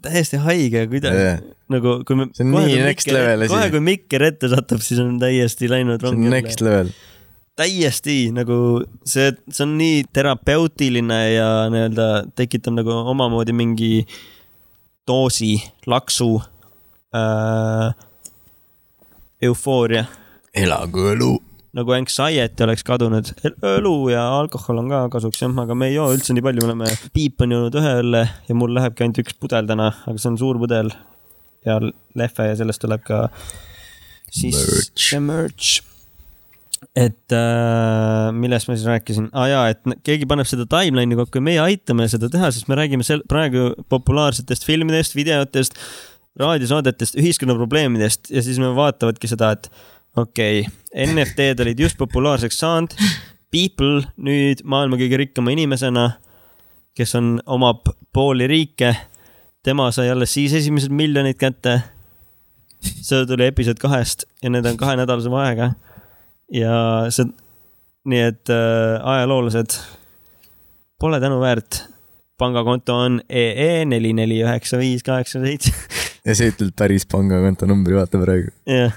S1: täiesti haige kuidagi yeah.
S2: see
S1: nagu kui me .
S2: See on nii next level asi.
S1: kohe , kui Mikker ette satub , siis on täiesti läinud
S2: on next level .
S1: täiesti nagu see , see on nii terapeutiline ja nii-öelda tekitab nagu omamoodi mingi doosi laksu äh, eufooria ,
S2: elagu elu .
S1: nagu anxiety oleks kadunud . õlu ja alkohol on ka kasuks jah , aga me ei joo üldse nii palju , me oleme , Piip on joonud ühe õlle ja mul lähebki ainult üks pudel täna , aga see on suur pudel ja lehve ja sellest tuleb ka siis
S2: Merch.
S1: see merch et äh, millest ma siis rääkisin ah, , jaa , et n- keegi paneb seda timeline'i kokku ja meie aitame seda teha , sest me räägime sel- , praegu populaarsetest filmidest , videotest , raadiosaadetest , ühiskonna probleemidest ja siis me vaatavadki seda , et okei okay, , NFT-d olid just populaarseks saanud , People nüüd maailma kõige rikkama inimesena , kes on , omab pooli riike , tema sai alles siis esimesed miljonid kätte . see tuli episood kahest ja need on kahenädalase vahega ja see , nii et äh, ajaloolased pole tänuväärt . pangakonto on EE neli , neli , üheksa , viis , kaheksa , seitse ,
S2: ja sa ütled päris pangakonto numbri , vaata praegu .
S1: jah .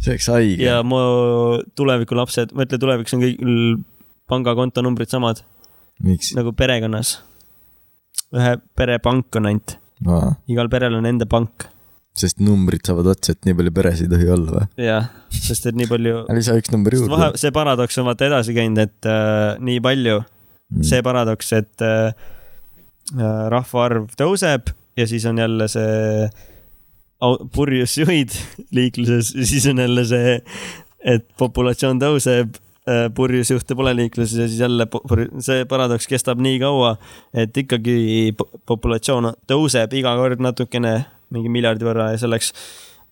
S2: see oleks haige .
S1: ja mu tulevikulapsed , ma ütlen , tulevikus on kõigil pangakonto numbrid samad
S2: miks ?
S1: nagu perekonnas . ühe pere pank on ainult , igal perel on enda pank
S2: sest numbrid saavad otsa , et nii palju peresid ei tohi olla või ?
S1: ja , sest et nii palju ,
S2: lisa üks number
S1: vahe
S2: juurde .,
S1: see paradoks on vaata edasi käinud , et äh, nii palju
S2: Mm.
S1: see paradoks , et äh, äh, rahvaarv tõuseb ja siis on jälle see au- purjus juhid liikluses ja siis on jälle see , et populatsioon tõuseb , purjus juhte pole liikluses ja siis jälle pu- purj- see paradoks kestab nii kaua , et ikkagi po- populatsioon tõuseb iga kord natukene , mingi miljardi võrra ja selleks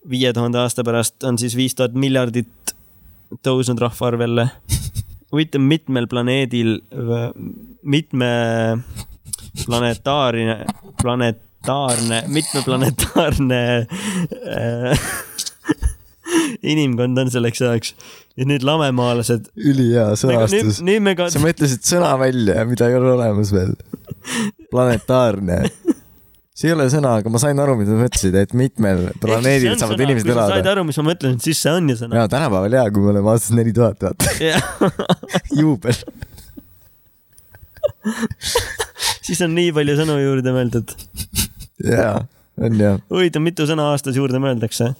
S1: viie tuhande aasta pärast on siis viis tuhat miljardit tõusnud rahvaarv jälle . huvitav , mitmel planeedil , mitme planetaarne , planetaarne , mitmeplanetaarne äh, inimkond on selleks ajaks ja nüüd lamemaalased .
S2: ülihea sõnastus .
S1: Nagu nüüd me ka
S2: sa , mõtlesid sõna välja , mida ei ole olemas veel . planetaarne . see ei ole sõna , aga ma sain aru , mida sa mõtlesid , et mitmel planeedil saavad inimesed
S1: said
S2: elada .
S1: aru , mis ma mõtlen , siis see on ju sõna .
S2: ja tänapäeval jaa , kui me oleme aastas neli tuhat , vaata , juubel .
S1: siis on nii palju sõnu juurde mõeldud .
S2: jaa , on jah .
S1: huvitav , mitu sõna aastas juurde mõeldakse ?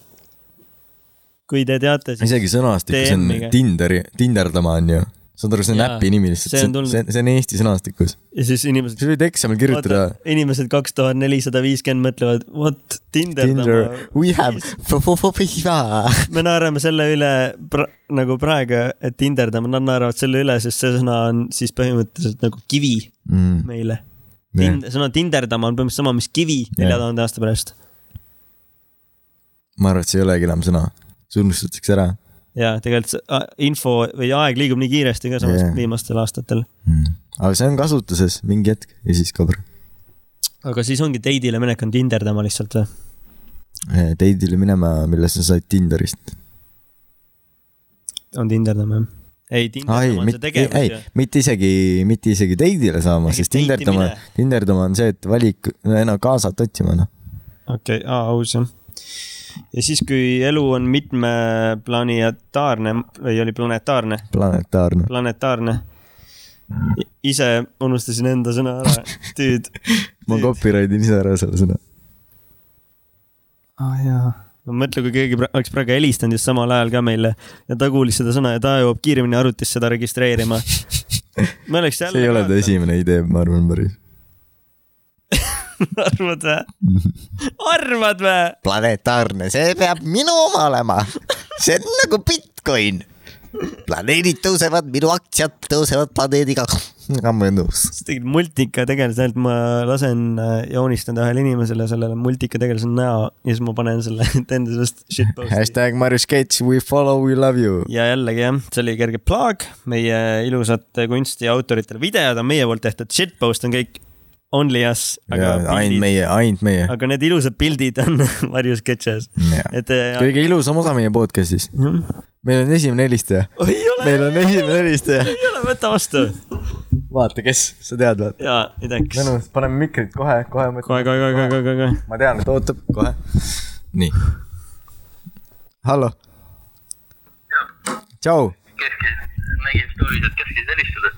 S1: kui te teate , siis
S2: isegi sõnastikus on
S1: DM-iga.
S2: Tinderi , Tinderdama on ju . saad aru , see on
S1: Jaa,
S2: äpi nimi
S1: see on
S2: lihtsalt ,
S1: tulnud-
S2: see on , see on Eesti sõnastikus .
S1: ja siis inimesed
S2: sa võid eksamil kirjutada .
S1: vaata , inimesed kaks tuhat nelisada viiskümmend mõtlevad , what Tinder,
S2: Tinder
S1: Tinder. ,
S2: we have .
S1: me naerame selle üle pra, nagu praegu , et tinderdame , nad naeravad selle üle , sest see sõna on siis põhimõtteliselt nagu kivi
S2: Mm,
S1: meile . Tind- , sõna tinderdama on põhimõtteliselt sama , mis kivi nelja tuhande aasta pärast
S2: ma arvan , et see ei olegi enam sõna . see unustatakse ära
S1: ja tegelikult see a- info või aeg liigub nii kiiresti ka samas
S2: Jah.
S1: viimastel aastatel ,
S3: Hmm.
S2: mm. . aga see on kasutuses mingi hetk ja siis kaob
S1: aga siis ongi date'ile minek on tinderdama lihtsalt või ?
S2: ära. Date'ile Äh, minema , mille sa said Tinderist .
S1: on tinderdama jah . ei ,
S2: ei
S1: tinderdama , on see
S2: mitte ,
S1: tegevus
S2: ei
S1: ju .,
S2: mitte isegi , mitte isegi Date'ile saama ,
S1: Ehk
S2: sest
S1: date'i
S2: Tinderdama
S1: mine. ,
S2: Tinderdama on see , et valik , no kaasat otsima noh .
S1: okei okay, , aa , aus jah . ja siis , kui elu on mitmeplanetaarne või oli planetaarne ,
S2: planetaarne .
S1: planetaarne . ise unustasin enda sõna ära , tüüd .
S2: ma copyright in ise ära selle sõna .
S4: ah jaa .
S1: no mõtle , kui keegi pra- oleks praegu helistanud just samal ajal ka meile ja ta kuulis seda sõna ja ta jõuab kiiremini arvutis seda registreerima . me oleks jälle .
S2: see ei ole ta . esimene idee , ma arvan päris .
S1: arvad vä ? arvad vä ?
S3: planetaarne , see peab minu oma olema . see on nagu Bitcoin . planeedid tõusevad , minu aktsiad tõusevad planeediga . ammu on nõus .
S1: sa tegid multika tegelase häält , ma lasen , joonistan ühele inimesele sellele multika tegelase näo ja siis ma panen selle , teen sellest shitpost'i .
S2: hashtag Marius Gates , we follow , we love you .
S1: ja jällegi jah , see oli kerge plaag , meie ilusate kunsti autoritele videod on meie poolt tehtud , shitpost on kõik only us , aga
S2: ainult
S1: pildid ,
S2: meie , ainult meie .
S1: aga need ilusad pildid on Marju sketšes , et . äh,
S2: kõige ilusam osa meie podcast'is .
S1: ei
S2: meil on esimene helistaja .
S1: Oh, ole ,
S2: meil on esimene helistaja .
S1: ei ole , võta vastu
S2: vaata , kes , sa tead , vaata .
S1: ja ei teaks . kohe ,
S2: mõnus , paneme mikrid kohe , kohe mõtleme .
S1: kohe , kohe , kohe , kohe , kohe .
S2: ma tean , et ootab kohe . nii . hallo . tšau .
S5: keskis , nägin story's , et keskis helistada .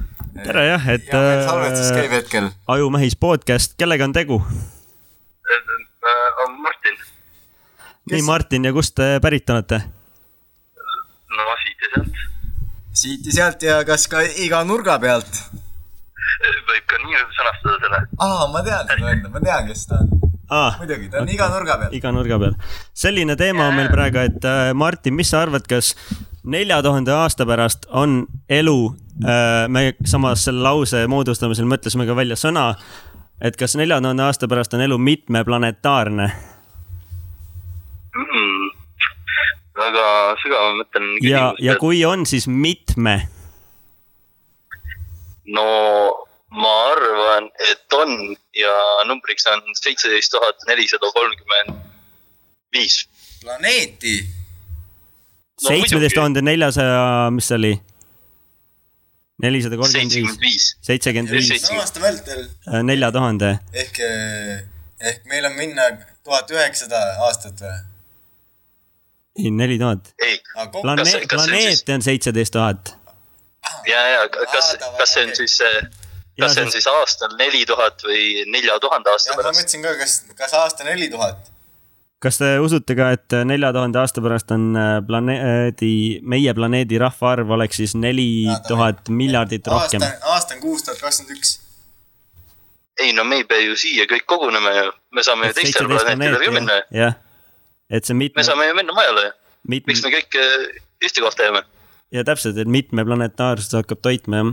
S1: tere jah , et . äh,
S2: hetkel .
S1: ajumähis podcast , kellega on tegu ?
S5: on Martin ,
S1: nii , Martin ja kust te pärit olete ?
S5: no siit ja sealt ,
S2: siit ja sealt ja kas ka iga nurga pealt ?
S5: võib ka nii sõnastada selle .
S2: aa , ma tean , ma tean , kes ta on .
S1: aa ,
S2: muidugi , ta on iga nurga peal .
S1: iga nurga peal . selline teema on meil praegu , et äh, Martin , mis sa arvad , kas nelja tuhande aasta pärast on elu , me samas selle lause moodustamisel mõtlesime ka välja sõna , et kas nelja tuhande aasta pärast on elu mitmeplanetaarne
S5: Mm. väga sügav mõtlen .
S1: ja , ja . kui on , siis mitme ?
S5: no ma arvan , et on ja numbriks on seitseteist tuhat nelisada kolmkümmend viis .
S2: planeeti .
S5: No muidugi.
S1: seitsmeteist tuhande neljasaja , mis see oli ? nelisada kolmkümmend viis
S5: seitsekümmend , viis .
S1: seitsekümmend viis ,
S5: Seitse-
S2: aasta vältel
S1: nelja tuhande
S2: ehk , ehk meil on minna tuhat üheksasada aastat või ?
S1: ei , neli tuhat .
S5: ei , Kas see-
S1: planeet ,
S5: kas see on siis-
S1: planeete on seitseteist tuhat .
S5: ja , ja kas
S2: Aa, davai, ,
S5: kas see on
S2: okei.
S5: siis , kas see on siis aastal neli tuhat või nelja tuhande aasta
S2: jah , ma
S5: pärast ?
S2: mõtlesin ka , kas , kas aasta neli tuhat ?
S1: kas te usute ka , et nelja tuhande aasta pärast on äh, planeedi , meie planeedi rahvaarv oleks siis neli tuhat miljardit rohkem ?
S2: aasta , aasta on kuus tuhat kakskümmend üks .
S5: ei no me ei pea ju siia kõik kogunema ju , me saame ju teistele planeetidele ka minna ju .
S1: jah , et see
S5: me
S1: mitme ,
S5: saame ju minna majale ju , miks
S1: mitme
S5: me kõik äh, ühte kohta jääme
S1: ja täpselt , et mitmeplanetaarsus hakkab toitma jah .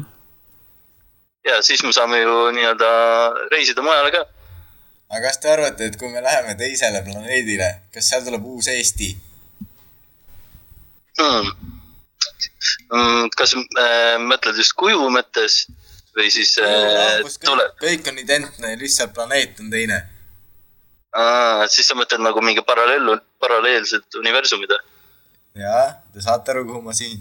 S5: ja siis me saame ju nii-öelda reisida mujale ka .
S2: aga kas te arvate , et kui me läheme teisele planeedile , kas seal tuleb uus Eesti ?
S5: Hmm. Mm, kas äh, mõtled just kuju mõttes või siis äh, tule ,
S2: kõik on identne , lihtsalt planeet on teine .
S5: siis sa mõtled nagu mingi paralleel , paralleelset eh? universumit või ?
S2: jaa , te saate aru , kuhu ma siin .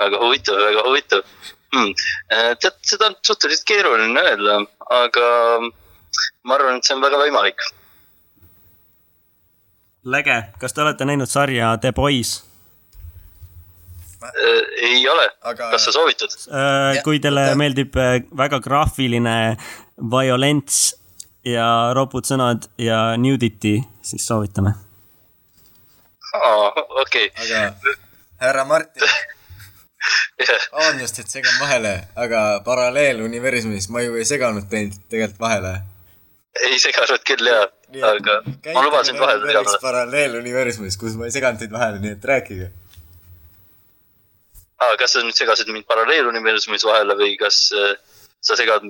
S5: väga huvitav , väga huvitav hmm. . tead , seda on suhteliselt keeruline öelda , aga ma arvan , et see on väga võimalik .
S1: Läge , kas te olete näinud sarja The Boys ?
S5: Eh, ei ole
S2: Aga-
S5: aga... , kas sa soovitad ?
S1: Äh, kui teile meeldib äh, väga graafiline violents ja ropud sõnad ja nudity , siis soovitame .
S5: okei ,
S2: aga härra Martin ,
S5: jah ,
S2: vabandust , et segan vahele , aga paralleeluniversumis ma ju ei seganud teid tegelikult vahele .
S5: ei seganud küll ja , aga ma lubasin vahele teada .
S2: paralleeluniversumis , kus ma ei seganud teid vahele , nii et rääkige .
S5: Ah, kas sa nüüd segasid mind paralleeluniversumis vahele või kas äh, sa segad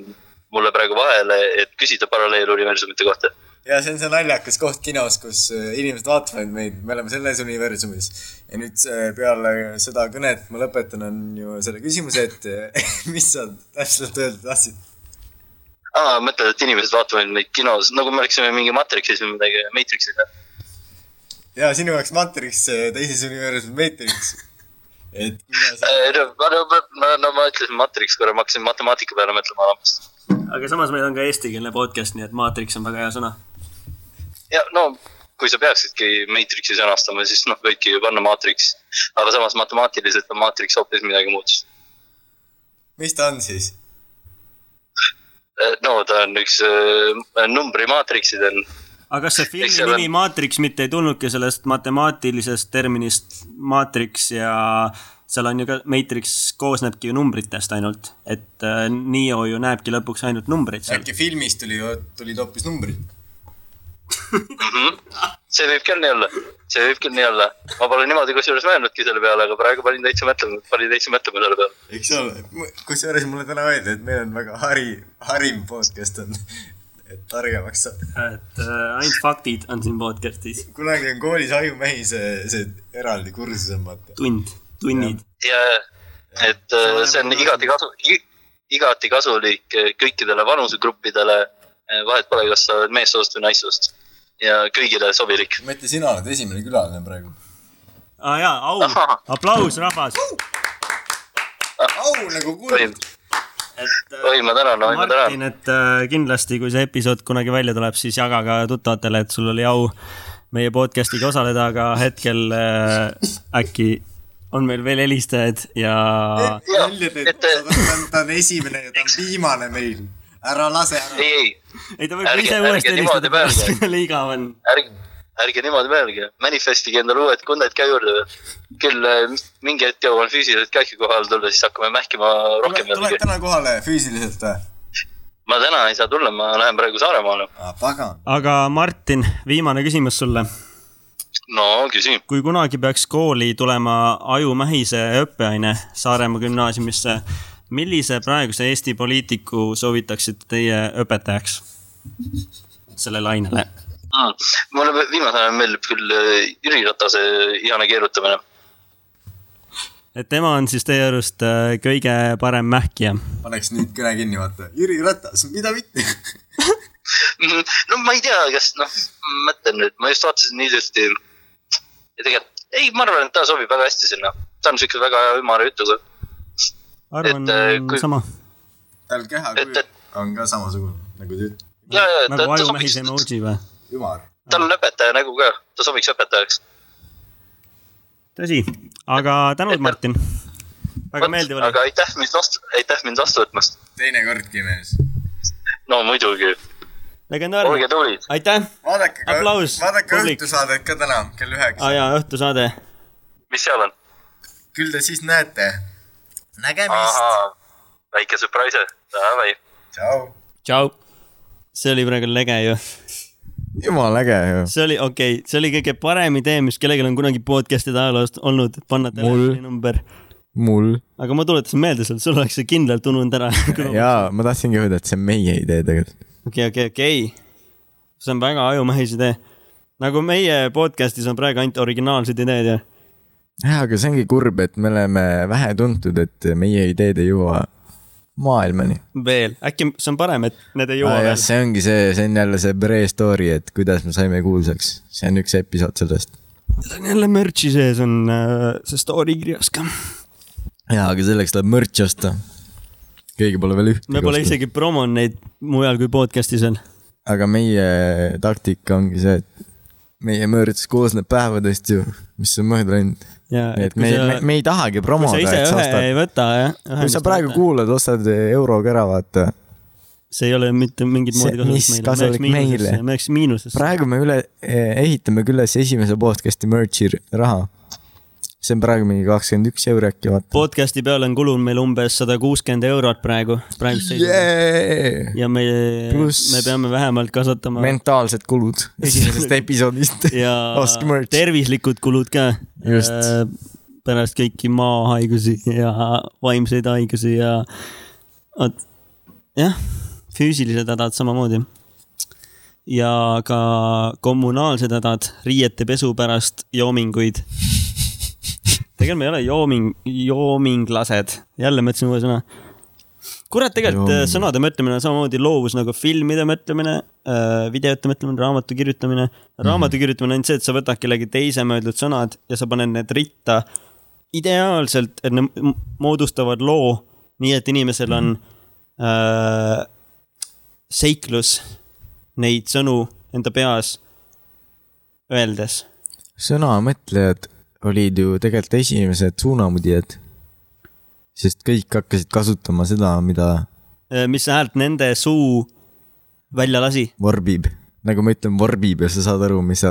S5: mulle praegu vahele , et küsida paralleeluniversumite kohta ?
S2: ja see on see naljakas koht kinos , kus äh, inimesed vaatavad meid , me oleme selles universumis . ja nüüd see- peale seda kõnet ma lõpetan , on ju selle küsimuse , et äh, mis sa täpselt öelda tahtsid .
S5: aa , mõtled , et inimesed vaatavad meid kinos , nagu me oleksime mingi Matrixis või midagi , Matrixis või ?
S2: ja sinu jaoks Matrix , teises universumis Matrix . et kuidas ,
S5: Äh, no, no, no, no ma ütlesin Matrix korra , ma hakkasin matemaatika peale mõtlema alates .
S1: aga samas meil on ka eestikeelne podcast , nii et maatriks on väga hea sõna .
S5: ja no kui sa peaksidki Matrixi sõnastama , siis noh , võidki ju panna Matrix . aga samas matemaatiliselt on Matrix hoopis midagi muud .
S2: mis ta on siis ?
S5: Eh, no ta on üks äh, numbrimaatriksid on .
S1: aga kas see
S5: Eks
S1: filmi
S5: seal on-
S1: nimi Matrix mitte ei tulnudki sellest matemaatilisest terminist Matrix ja seal on ju ka , Matrix koosnebki ju numbritest ainult , et äh, Neo ju näebki lõpuks ainult numbreid seal .
S2: äkki filmis tuli , tulid hoopis numbrid ?
S5: see võib küll nii olla , see võib küll nii olla . ma pole niimoodi kusjuures mõelnudki selle peale , aga praegu panin täitsa mõtlema , panin täitsa mõtlema selle peale .
S2: eks ole , kusjuures mulle täna öeldi , et meil on väga hari , harim podcast on , et targemaks saab .
S1: et äh, ainult faktid on siin podcast'is ,
S2: kunagi on koolis ajumehi see , see eraldi kursus on vaata .
S1: tund , tunnid .
S5: ja , et äh, see on igati kasu , igati kasulik äh, kõikidele vanusegruppidele . vahet pole , kas sa oled meessoost või naissoost ja kõigile sobilik .
S2: Mati , sina oled esimene külaline praegu .
S1: aa ah, jaa , au
S5: Ahah. ,
S1: aplaus rahvas ,
S2: au nagu
S5: oi
S2: kuuled ,,
S1: et äh,
S5: oi , ma tänan , oi , ma
S1: Martin ,
S5: tänan .
S1: et äh, kindlasti , kui see episood kunagi välja tuleb , siis jaga ka tuttavatele , et sul oli au meie podcast'iga osaleda , aga hetkel äh, äkki on meil veel helistajad ja
S2: äh, välja teed ,
S5: et- äh,
S2: ta on esimene ja ta on viimane meil . ära lase ära .
S5: ei , ei ,
S1: ei , ta võib
S5: Ärge-
S1: ise
S5: ärge
S1: uuesti
S5: niimoodi
S1: helistada , pärast
S5: mõelge.
S1: kui tal igav on .
S5: ärge , ärge niimoodi mõelge , manifestige endale uued kunded ka juurde . küll äh, mingi hetk jõuan füüsiliselt ka ikka kohale tulla , siis hakkame mähkima rohkem
S2: tuled
S5: jällegi .
S2: täna kohale füüsiliselt äh. või ?
S5: ma täna ei saa tulla , ma lähen praegu Saaremaale .
S2: aa , Ah, pagan .
S1: aga Martin , viimane küsimus sulle .
S5: no küsi .
S1: kui kunagi peaks kooli tulema ajumähise õppeaine Saaremaa gümnaasiumisse , millise praeguse Eesti poliitiku soovitaksite teie õpetajaks sellele ainele ?
S5: Mm. mulle pe- viimasel ajal meeldib küll äh, Jüri Ratase ihane keerutamine .
S1: et tema on siis teie arust äh, kõige parem mähkija .
S2: paneks nüüd kõne kinni , vaata . Jüri Ratas , mida mitte .
S5: Mhm. no ma ei tea , kas noh , mõtlen nüüd , ma just vaatasin hiljuti . ja tegelikult , ei , ma arvan , et ta sobib väga hästi sinna . ta on siukse väga ümara jutuga .
S1: arvan
S5: Et, äh,
S1: kui...
S5: kui-
S1: sama ,
S2: tal keha
S5: Et-
S2: kuju
S5: et-
S2: on ka samasugune nagu tüüt- ,
S5: ja , ja ta,
S1: nagu
S5: ta
S1: ajumehis
S5: sobiks ,
S1: emoji või ?
S2: ümar .
S5: tal on õpetaja nägu ka , ta sobiks õpetajaks .
S1: tõsi , aga tänud , Martin . väga meeldiv oli .
S5: aga aitäh mind vastu , aitäh mind vastu võtmast .
S2: teinekordki mees .
S5: no muidugi , olge
S1: legendaarne ,
S5: tublid .
S1: aitäh .
S2: vaadake ka ,
S1: Aplaus,
S2: vaadake
S1: publik.
S2: õhtusaadet ka täna kell üheksa .
S1: aa jaa , õhtusaade .
S5: mis seal on ?
S2: küll te siis näete . nägemist .
S5: ahaa , väike surprise , davai .
S2: tšau .
S1: tšau . see oli praegu lege ju .
S2: jumala äge ju .
S1: see oli , okei okay, , see oli kõige parem idee , mis kellelgi on kunagi podcast'ide ajaloost olnud , panna telefoninumber .
S2: mul .
S1: aga ma tuletasin meelde sulle , sul oleks see kindlalt ununenud ära . okei ,
S2: jaa , ma tahtsingi öelda , et see on meie idee tegelikult .
S1: okei , okei . see on väga ajumehis idee . nagu meie podcast'is on praegu ainult originaalsed ideed ju
S2: jah , aga see ongi kurb , et me oleme vähe tuntud , et meie ideed ei jõua maailmani .
S1: veel , äkki see on parem , et need ei jõua
S2: jah ,
S1: veel .
S2: see ongi see , see on jälle see pre-story , et kuidas me saime kuulsaks . see on üks episood sellest .
S1: Need on jälle merch'i sees on äh, see story kirjas ka .
S2: jaa , aga selleks tuleb mürtsi osta . keegi pole veel ühtegi
S1: me pole . isegi promonud neid mujal kui podcast'is on .
S2: aga meie taktika ongi see , et meie mürts koosneb päevadest ju , mis on mööda läinud .
S1: ja ,
S2: nii
S1: et
S2: et me
S1: kui ,
S2: me,
S1: sa ,
S2: me ei tahagi
S1: kui
S2: promoda ,
S1: sa ise
S2: et sa
S1: ühe
S2: ostad
S1: ei . võta , jah .
S2: kui sa praegu . kuulad , ostad euroga ära , vaata .
S1: see ei ole mitte mingit
S2: See-
S1: moodi
S2: mis
S1: kasulik
S2: kasulik
S1: meile ,
S2: meile?
S1: me oleks miinuses .
S2: praegu me üle , ehitame küll üles esimese podcast'i merch'i r- raha . see on praegu mingi kakskümmend üks euri äkki , vaata .
S1: podcast'i peale on kulunud meil umbes sada kuuskümmend eurot praegu , praeguse seisuga yeah. .
S2: Yeah!
S1: ja me ,
S2: Pluss-
S1: me peame vähemalt kasvatama
S2: mentaalsed kulud esimesest episoodist .
S1: ja
S2: ostke merch .
S1: tervislikud kulud ka .
S2: Just.
S1: pärast kõiki maahaigusi ja vaimseid haigusi ja , vot jah , füüsilised hädad samamoodi . ja ka kommunaalsed hädad , riiete pesu pärast joominguid . tegelikult me ei ole jooming , joominglased , jälle ma ütlesin uue sõna kurat , tegelikult äh,
S2: Jooming.
S1: sõnade mõtlemine on samamoodi loovus nagu filmide mõtlemine , videote mõtlemine , raamatu kirjutamine . raamatu kirjutamine on ainult see , et sa võtad kellegi teise mõeldud sõnad ja sa paned need ritta ideaalselt , et need m- moodustavad loo , nii et inimesel on äh, seiklus neid sõnu enda peas öeldes .
S2: sõnamõtlejad olid ju tegelikult esimesed suunamudijad . sest kõik hakkasid kasutama seda , mida
S1: Äh, mis häält nende suu välja lasi .
S2: vorbib , nagu ma ütlen , vorbib ja sa saad aru , mis ,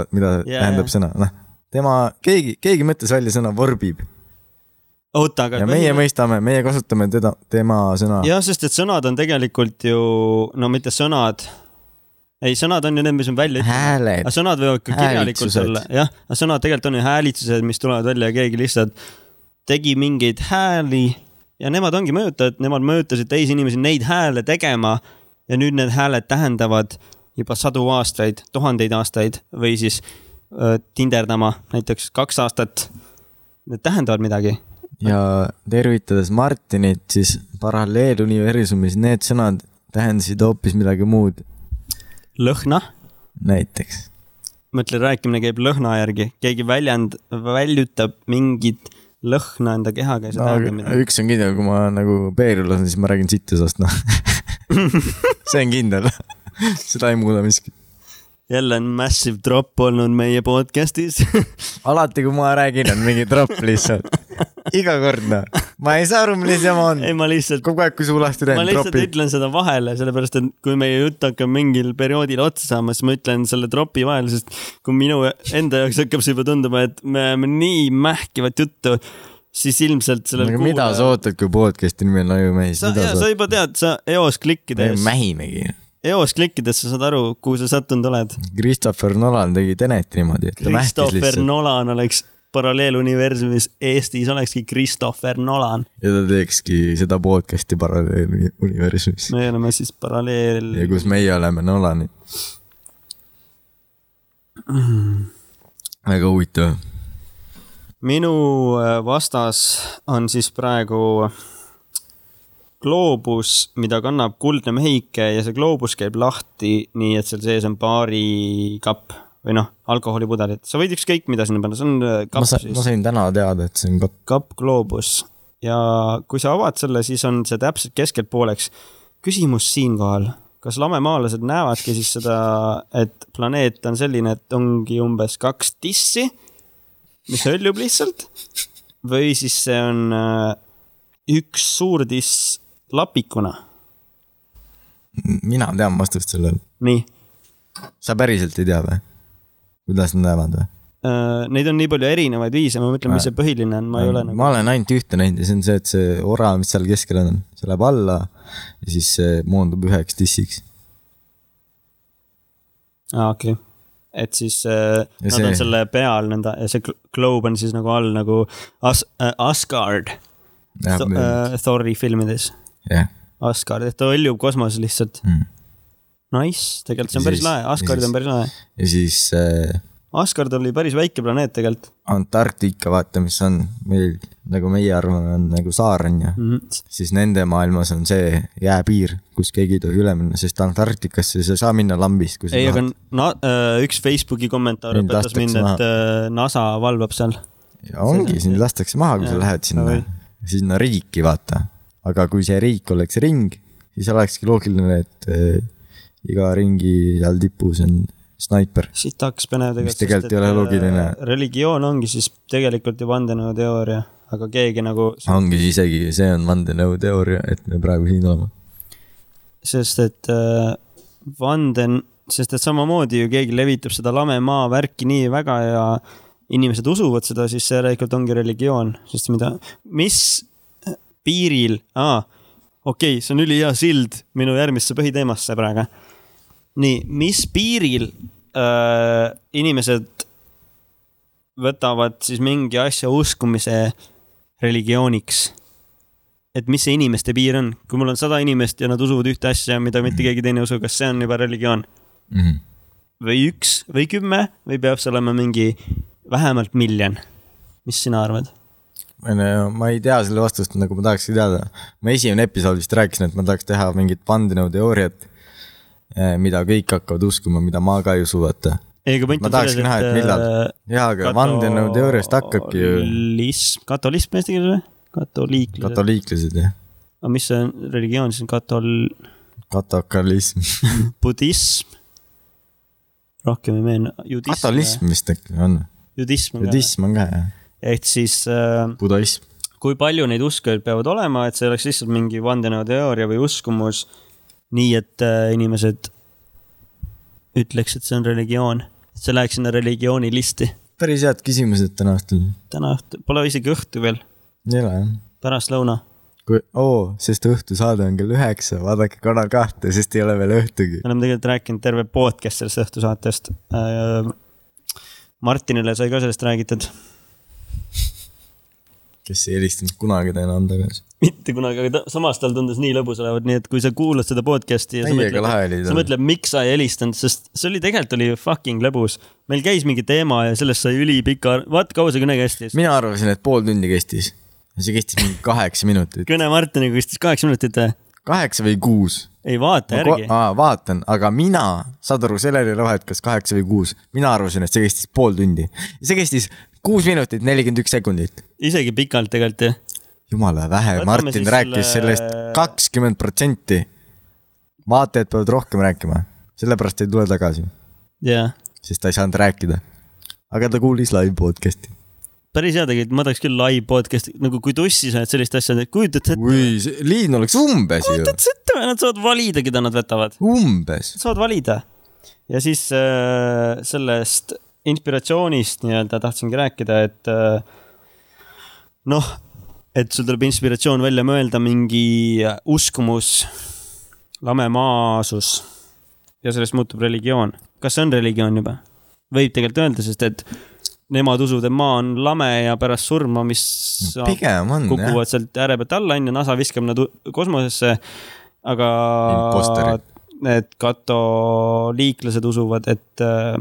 S1: Jaa,
S2: mida yeah, tähendab
S1: jaa.
S2: yeah. sõna , noh . tema , keegi , keegi mõtles välja sõna vorbib
S1: oota , aga
S2: ja meie mõistame , meie kasutame teda , tema sõna .
S1: jah , sest et sõnad on tegelikult ju , no mitte sõnad . ei , sõnad on ju need , mis on välja ütlenud .
S2: hääled
S1: aga . sõnad võivad ka kirjalikult
S2: Häälitsused.
S1: olla , jah , aga sõnad tegelikult on ju häälitsused , mis tulevad välja ja keegi lihtsalt tegi mingeid hääli ja nemad ongi mõjutajad , nemad mõjutasid teisi inimesi neid hääle tegema ja nüüd need hääled tähendavad juba sadu aastaid , tuhandeid aastaid või siis öö, tinderdama näiteks kaks aastat . Need tähendavad midagi .
S2: ja tervitades Martinit , siis paralleeluniversumis need sõnad tähendasid hoopis midagi muud ,
S1: lõhna
S2: näiteks .
S1: ma ütlen , rääkimine käib lõhna järgi , keegi väljend , väljutab mingit lõhna enda kehaga ja see
S2: no aga-
S1: tähendab midagi .
S2: üks on kindel , kui ma nagu peeril lasen , siis ma räägin sittusest , noh . see on kindel . seda ei muuda miski .
S1: jälle on massive drop olnud meie podcast'is .
S2: alati , kui ma räägin , on mingi tropp lihtsalt . iga kord , noh . ma ei saa aru , milles jama on
S1: ei ,. ma lihtsalt ,
S2: kogu aeg , kui suu lahti
S1: ma
S2: teen ,
S1: lihtsalt
S2: tropi .
S1: ütlen seda vahele , sellepärast et kui meie jutt hakkab mingil perioodil otsa saama , siis ma ütlen selle dropi vahele , sest kui minu enda jaoks hakkab see juba tunduma , et me ajame nii mähkivat juttu , siis ilmselt sellel
S2: aga mida sa ootad , kui podcast'i nimi on Ajumees ,
S1: sa ,
S2: mida
S1: jaa ,
S2: sa
S1: sa juba tead , sa eos
S2: ootad
S1: klikkides ,?
S2: mähimegi .
S1: eos klikkides sa saad aru , kuhu sa sattunud oled
S2: Christopher Nolan tegi Tenet niimoodi , et ta mähkis
S1: Christopher
S2: lihtsalt
S1: Nolan oleks paralleeluniversumis Eestis olekski Christopher Nolan .
S2: ja ta teekski seda podcast'i paralleeluniversumis .
S1: me oleme siis paralleel
S2: ja , kus meie oleme Nolanid . väga huvitav .
S1: minu äh, vastas on siis praegu gloobus , mida kannab kuldne mehike ja see gloobus käib lahti , nii et seal sees on baarikapp või noh , alkoholipudelit , sa võid ükskõik mida sinna panna , see on äh,
S2: ma
S1: kapp
S2: sain , ma
S1: siis ,
S2: sain täna teada , et see on kopp .
S1: kapp gloobus ja kui sa avad selle , siis on see täpselt keskelt pooleks . küsimus siinkohal , kas lamemaalased näevadki siis seda , et planeet on selline , et ongi umbes kaks tissi , mis hõljub lihtsalt või siis see on äh, üks suur tiss lapikuna ,
S2: mina tean vastust sellele .
S1: nii .
S2: sa päriselt ei tea või ? kuidas nad näevad või ?
S1: Äh, Neid on nii palju erinevaid viise , ma mõtlen , mis see põhiline on , ma ei ole nagu ,
S2: ma olen ainult ühte näinud ja see on see , et see ora , mis seal keskel on , see läheb alla ja siis see moondub üheks tissiks .
S1: aa okei okay. et siis äh,
S2: Ja
S1: nad see... on
S2: see-
S1: selle peal nõnda ja see gl- globe on siis nagu all nagu As- , äh, Asgard Th
S2: jah ,
S1: äh, Thori filmides .
S2: jah .
S1: Asgard , et ta hõljub kosmoses lihtsalt
S2: Mm. .
S1: Nice , tegelikult see on
S2: Ja
S1: päris
S2: siis-
S1: lahe ,
S2: ja
S1: Asgard
S2: siis-
S1: on päris lahe .
S2: ja siis äh,
S1: Asgard oli päris väike planeet tegelikult
S2: Antarktika , vaata , mis on meil nagu meie arvame , on nagu saar on ju .
S1: mm . -hmm.
S2: siis nende maailmas on see jääpiir , kus keegi ei tohi üle minna , sest Antarktikasse sa ei saa minna lambist , kui sa
S1: ei , aga
S2: tahad .
S1: na- , äh, üks Facebooki kommentaar
S2: Mind
S1: õpetas
S2: lastakse
S1: mind , et
S2: maha.
S1: äh, NASA valvab seal .
S2: ja ongi , sind lastakse maha , kui sa
S1: Jah,
S2: lähed sinna
S1: davai. ,
S2: sinna riiki , vaata . aga kui see riik oleks ring , siis olekski loogiline , et äh, iga ringi seal tipus on snaiper .
S1: siit hakkas põnev
S2: Mis
S1: tegelikult .
S2: tegelikult ei ole loogiline.
S1: religioon ongi siis tegelikult ju vandenõuteooria , aga keegi nagu ,
S2: ongi isegi , see on vandenõuteooria , et me praegu siin oleme .
S1: sest et äh, vanden , sest et samamoodi ju keegi levitab seda lame maa värki nii väga ja inimesed usuvad seda , siis see järelikult ongi religioon , sest mida , mis piiril ah, , okei okay, , see on ülihea sild minu järgmisse põhiteemasse praegu . nii , mis piiril äh, inimesed võtavad siis mingi asja uskumise religiooniks ? et mis see inimeste piir on , kui mul on sada inimest ja nad usuvad ühte asja , mida
S2: Mhm.
S1: mitte keegi teine ei usu , kas see on juba religioon või üks või kümme või peab see olema mingi vähemalt miljon ? mis sina arvad ?
S2: ma ei- ma ei tea selle vastust , nagu ma tahakski teada . ma esimene episood vist rääkisin , et ma tahaks teha mingit vandenõuteooriat , mida kõik hakkavad uskuma , mida ma ka ei usu , vaata .
S1: ei , aga point
S2: ma tahakski näha , et millal .
S1: äh,
S2: jaa , aga vandenõuteooriast hakkabki ju
S1: katolism , katolism eesti keeles või ? katoliiklased ,
S2: katoliiklased ja
S1: aga mis see on religioon siis on , katol- ,
S2: katokalism .
S1: budism ? rohkem ei meenu , judism .
S2: katolism vist äkki on ,
S1: judism on ka .
S2: judism on ka jah ,
S1: ehk siis äh,
S2: budaism .
S1: kui palju neid uskujaid peavad olema , et see oleks lihtsalt mingi vandenõuteooria või uskumus . nii et äh, inimesed ütleks , et see on religioon , et see läheks sinna religiooni listi .
S2: päris head küsimused täna õhtul .
S1: täna õhtul , pole isegi õhtu veel ,
S2: ei ole jah ?
S1: pärastlõuna .
S2: kui , oo , sest õhtusaade on kell üheksa , vaadake Kanal kahte , sest ei ole veel õhtugi .
S1: me oleme tegelikult rääkinud terve podcast sellest õhtusaatest äh, . Martinile sai ka sellest räägitud ,
S2: kes ei helistanud kunagi täna on tagasi .
S1: mitte kunagi , aga ta, samas tal tundus nii lõbus olevat , nii et kui sa kuulad seda podcast'i ja sa
S2: Täiega
S1: mõtled
S2: lahe oli , tal.
S1: sa mõtled , miks sa ei helistanud , sest see oli tegelikult oli fucking lõbus . meil käis mingi teema ja sellest sai ülipika , vaat kaua see kõne kestis .
S2: mina arvasin , et pool tundi kestis . see kestis mingi kaheksa minutit .
S1: kõne Martiniga kestis kaheksa minutit või ?
S2: kaheksa või kuus ?
S1: ei vaata
S2: ma
S1: järgi
S2: ko- , aa, vaatan , aga mina , saad aru , sellel ei ole vahet , kas kaheksa või kuus , mina arvasin , et see kestis pool tundi . see kestis kuus minutit , nelikümmend üks sekundit .
S1: isegi pikalt tegelikult ju .
S2: jumala vähe ,
S1: Võtame
S2: Martin
S1: siis
S2: rääkis
S1: selle-
S2: sellest kakskümmend protsenti . vaatajad peavad rohkem rääkima , sellepärast ei tule tagasi ,
S1: jaa ,
S2: sest ta ei saanud rääkida . aga ta kuulis live podcast'i .
S1: päris hea tegelikult , ma tahaks küll live podcast'i , nagu kui tussi sa oled sellist asja , kujutad sa ette ,
S2: või , liin oleks umbes ju
S1: kujutad , sa ette või nad saavad valida , keda nad võtavad .
S2: umbes .
S1: saad valida . ja siis äh, sellest inspiratsioonist nii-öelda tahtsingi rääkida , et äh, noh , et sul tuleb inspiratsioon välja mõelda mingi uskumus , lamemaasus ja sellest muutub religioon . kas see on religioon juba ? võib tegelikult öelda , sest et nemad usuvad , et maa on lame ja pärast surma , mis saab-
S2: pigem on, Mm, jah.
S1: kukuvad sealt ääre pealt alla , onju , NASA viskab nad u- kosmosesse . aga
S2: Imposterid.
S1: need katoliiklased usuvad , et äh,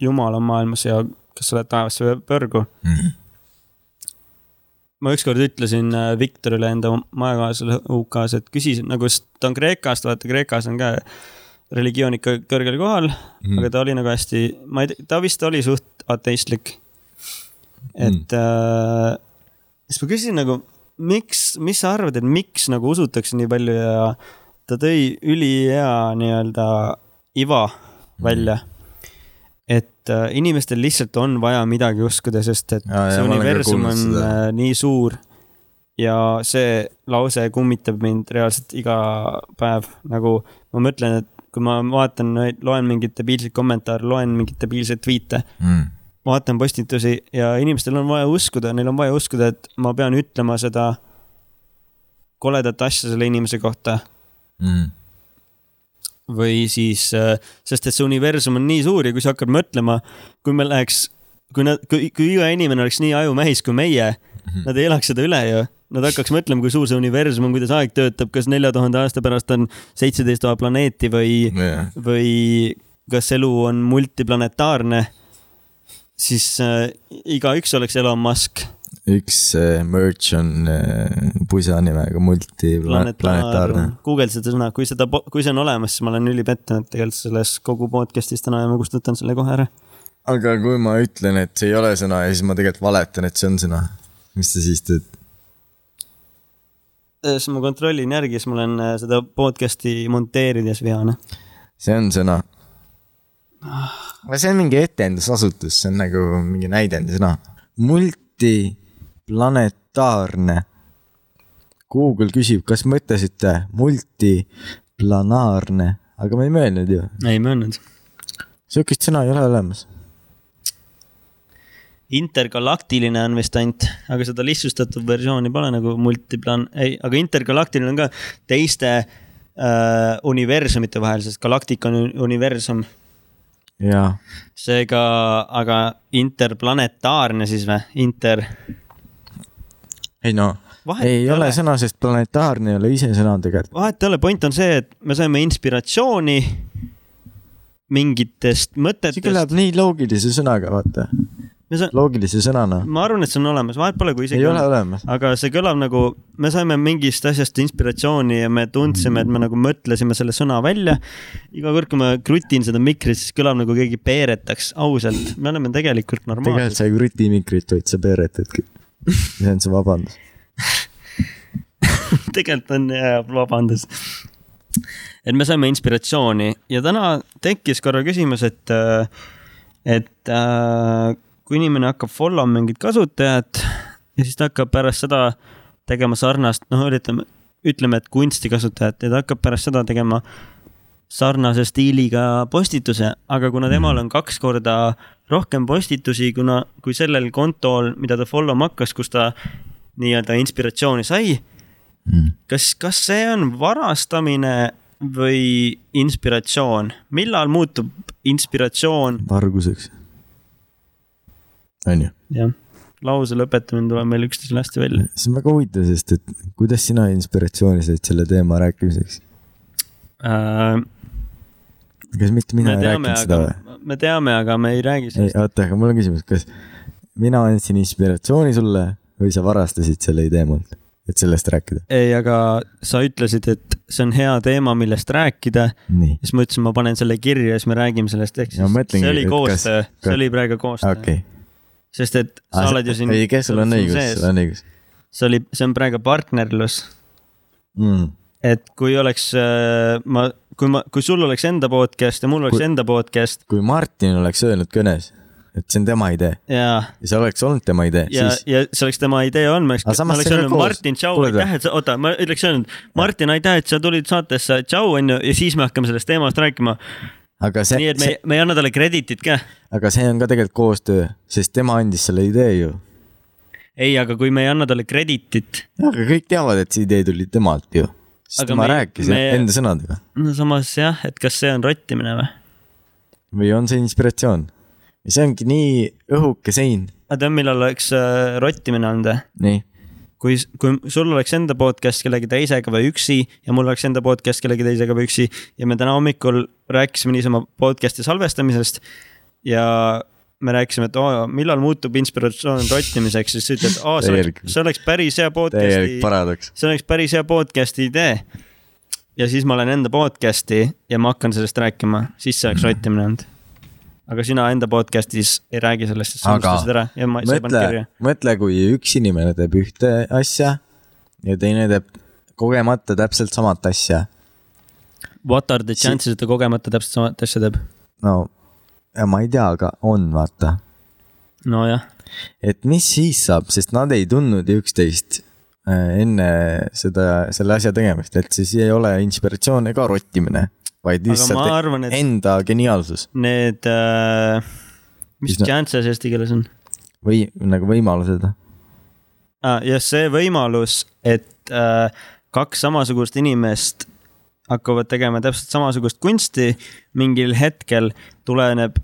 S1: jumal on maailmas ja kas sa lähed taevasse või põrgu .
S2: Hmm.
S1: ma ükskord ütlesin äh, Viktorile enda majakaaslasele UK-s , et küsisin nagu , sest ta on Kreekast , vaata Kreekas on ka religioon ikka kõrgel kohal
S2: Mhm.
S1: mm. , aga ta oli nagu hästi , ma ei tea , ta vist oli suht ateistlik . et
S2: Mm.
S1: äh, siis ma küsisin nagu , miks , mis sa arvad , et miks nagu usutakse nii palju ja ta tõi ülihea nii-öelda iva välja mm. et äh, inimestel lihtsalt on vaja midagi uskuda , sest et
S2: Jaa, jaa,
S1: ja, see
S2: ma olen ka
S1: universum
S2: kuulnud
S1: on
S2: seda.
S1: äh, nii suur ja see lause kummitab mind reaalselt iga päev , nagu ma mõtlen , et kui ma vaatan , loen mingeid debiilseid kommentaare , loen mingeid debiilseid tweet'e ,
S2: Mm.
S1: vaatan postitusi ja inimestel on vaja uskuda , neil on vaja uskuda , et ma pean ütlema seda koledat asja selle inimese kohta
S2: Mm.
S1: või siis , sest et see universum on nii suur ja kui sa hakkad mõtlema , kui me läheks , kui nad , kui , kui iga inimene oleks nii ajumähis kui meie mm , -hmm. nad ei elaks seda üle ju . Nad hakkaks mõtlema , kui suur see universum on , kuidas aeg töötab , kas nelja tuhande aasta pärast on seitseteist tuhat planeeti või
S2: jah ,
S1: või kas elu on multiplanetaarne , siis äh, igaüks oleks Elon Musk .
S2: üks äh, merch on äh, pusa nimega multiplanetaarne .
S1: guugelda seda sõna , kui seda , kui see on olemas , siis ma olen ülipettunud tegelikult selles kogu podcast'is täna ja ma kustutan selle kohe ära .
S2: aga kui ma ütlen , et see ei ole sõna ja siis ma tegelikult valetan , et see on sõna , mis sa siis teed ?
S1: Äh, siis ma kontrollin järgi , siis ma olen äh, seda podcast'i monteerides vihane .
S2: see on sõna . Ah. see on mingi etendusasutus , see on nagu mingi näidendusõna . multiplanetaarne . Google küsib , kas mõtlesite multiplanaarne , aga ma ei mõelnud ju ,
S1: ei mõelnud .
S2: sihukest sõna ei ole olemas .
S1: intergalaktiline on vist ainult , aga seda lihtsustatud versiooni pole nagu multiplan , ei , aga intergalaktiline on ka teiste äh, universumite vahel , sest galaktika on ju- universum .
S2: jaa ,
S1: seega , aga interplanetaarne siis või , inter ,
S2: ei no ,
S1: Vahet
S2: ei
S1: ei
S2: ole
S1: ole.
S2: sõna , sest planetaarne ei ole ise sõna tegelikult .
S1: vahet ei ole , point on see , et me saime inspiratsiooni mingitest
S2: see
S1: mõtetest ,
S2: kõlab nii loogilise sõnaga , vaata ,
S1: me sa- ,
S2: loogilise sõnana .
S1: ma arvan , et see on olemas , vahet pole , kui isegi
S2: ei ole olemas .
S1: aga see kõlab nagu , me saime mingist asjast inspiratsiooni ja me tundsime , et me nagu mõtlesime selle sõna välja . iga kord , kui ma krutin seda mikrit , siis kõlab nagu keegi peeretaks , ausalt , me oleme tegelikult
S2: tegelikult
S1: normaalsed .
S2: sa ei kuriti mikrit , vaid sa peeretadki . see on see vabandus .
S1: tegelikult on jah , vabandust . et me saime inspiratsiooni ja täna tekkis korra küsimus , et , äh, et äh, kui inimene hakkab follow mingit kasutajat ja siis ta hakkab pärast seda tegema sarnast , noh , ütleme , ütleme , et kunstikasutajat ja ta hakkab pärast seda tegema sarnase stiiliga postituse , aga kuna temal on kaks korda rohkem postitusi , kuna , kui sellel kontol , mida ta follow ma hakkas , kus ta nii-öelda inspiratsiooni sai ,
S2: mm. .
S1: kas , kas see on varastamine või inspiratsioon , millal muutub inspiratsioon ,
S2: varguseks . on ju ?
S1: jah , lause lõpetamine tuleb meil üksteisele hästi välja .
S2: see on väga huvitav , sest et kuidas sina inspiratsiooni said selle teema rääkimiseks ?
S1: Äh,
S2: kas mitte mina
S1: me
S2: ei
S1: teame ,
S2: rääkinud seda või ?
S1: aga , me teame , aga me ei räägi
S2: ei ,
S1: sellest .
S2: oota , aga mul on küsimus , kas mina andsin inspiratsiooni sulle või sa varastasid selle idee mult , et sellest rääkida ?
S1: ei , aga sa ütlesid , et see on hea teema , millest rääkida .
S2: nii ,
S1: siis ma ütlesin , ma panen selle kirja ja siis me räägime sellest , ehk
S2: Ja
S1: siis
S2: ma mõtlengi,
S1: see oli
S2: et kas-
S1: koostöö ,
S2: kas-
S1: see oli praegu koostöö okay. .
S2: okei .
S1: sest et sa oled ju siin .
S2: ei , kes sul on õigus , sul on õigus
S1: see oli , see on praegu partnerlus ,
S2: mm. .
S1: et kui oleks äh, ma , kui ma , kui sul oleks enda podcast ja mul oleks
S2: Kui-
S1: kui... enda podcast
S2: kui Martin oleks öelnud kõnes , et see on tema idee
S1: ja ,
S2: ja see oleks olnud tema idee ,
S1: ja ,
S2: siis
S1: ja see oleks tema idee olnud , ma
S2: Aga
S1: oleks , ma
S2: samas
S1: oleks
S2: see on
S1: öelnud
S2: ka koos.
S1: Martin , tšau ,
S2: Kuule,
S1: aitäh , et sa , oota , ma oleks öelnud Martin , aitäh , et sa tulid saatesse , tšau , onju , ja siis me hakkame sellest teemast rääkima .
S2: aga see,
S1: nii et me
S2: see ,,
S1: me ei anna talle krediitit ka .
S2: aga see on ka tegelikult koostöö , sest tema andis selle idee ju .
S1: ei , aga kui me ei anna talle krediitit ,
S2: aga kõik teavad , et see idee tuli temalt ju , sest
S1: Aga
S2: tema
S1: me-
S2: me, rääkis me...
S1: me-
S2: enda sõnadega
S1: no samas jah , et kas see on rottimine või ?
S2: või on see inspiratsioon . ja see ongi nii õhuke sein .
S1: aga tead , millal oleks äh, rottimine olnud või ?
S2: nii .
S1: kui , kui sul oleks enda podcast kellegi teisega või üksi ja mul oleks enda podcast kellegi teisega või üksi ja me täna hommikul rääkisime niisama podcast'i salvestamisest ja me rääkisime , et oo , millal muutub inspiratsioon rottimiseks , siis sa ütled , et aa , see
S2: Täielik-
S1: oleks , see oleks päris hea
S2: täielik
S1: podcast'i ,
S2: paradoks .
S1: see oleks päris hea podcast'i idee . ja siis ma olen enda podcast'i ja ma hakkan sellest rääkima , siis see oleks rottimine olnud . aga sina enda podcast'is ei räägi sellest , sest sa
S2: Aga
S1: unustasid ära ja ma , sa ei pannud
S2: mõtle
S1: kirja .,
S2: mõtle , kui üks inimene teeb ühte asja ja teine teeb kogemata täpselt samat asja .
S1: What are the chances , et ta kogemata täpselt samat asja teeb ?
S2: no ma ei tea , aga on , vaata
S1: nojah ,
S2: et mis siis saab , sest nad ei tundnud ju üksteist äh, enne seda , selle asja tegemist , et siis ei ole inspiratsioon ega rottimine , vaid
S1: Aga
S2: lihtsalt
S1: ma arvan, et-
S2: enda geniaalsus
S1: need äh, , mis
S2: Mis na-
S1: chances eesti keeles on
S2: või nagu võimalused .
S1: ah, ? ja see võimalus , et äh, kaks samasugust inimest hakkavad tegema täpselt samasugust kunsti mingil hetkel , tuleneb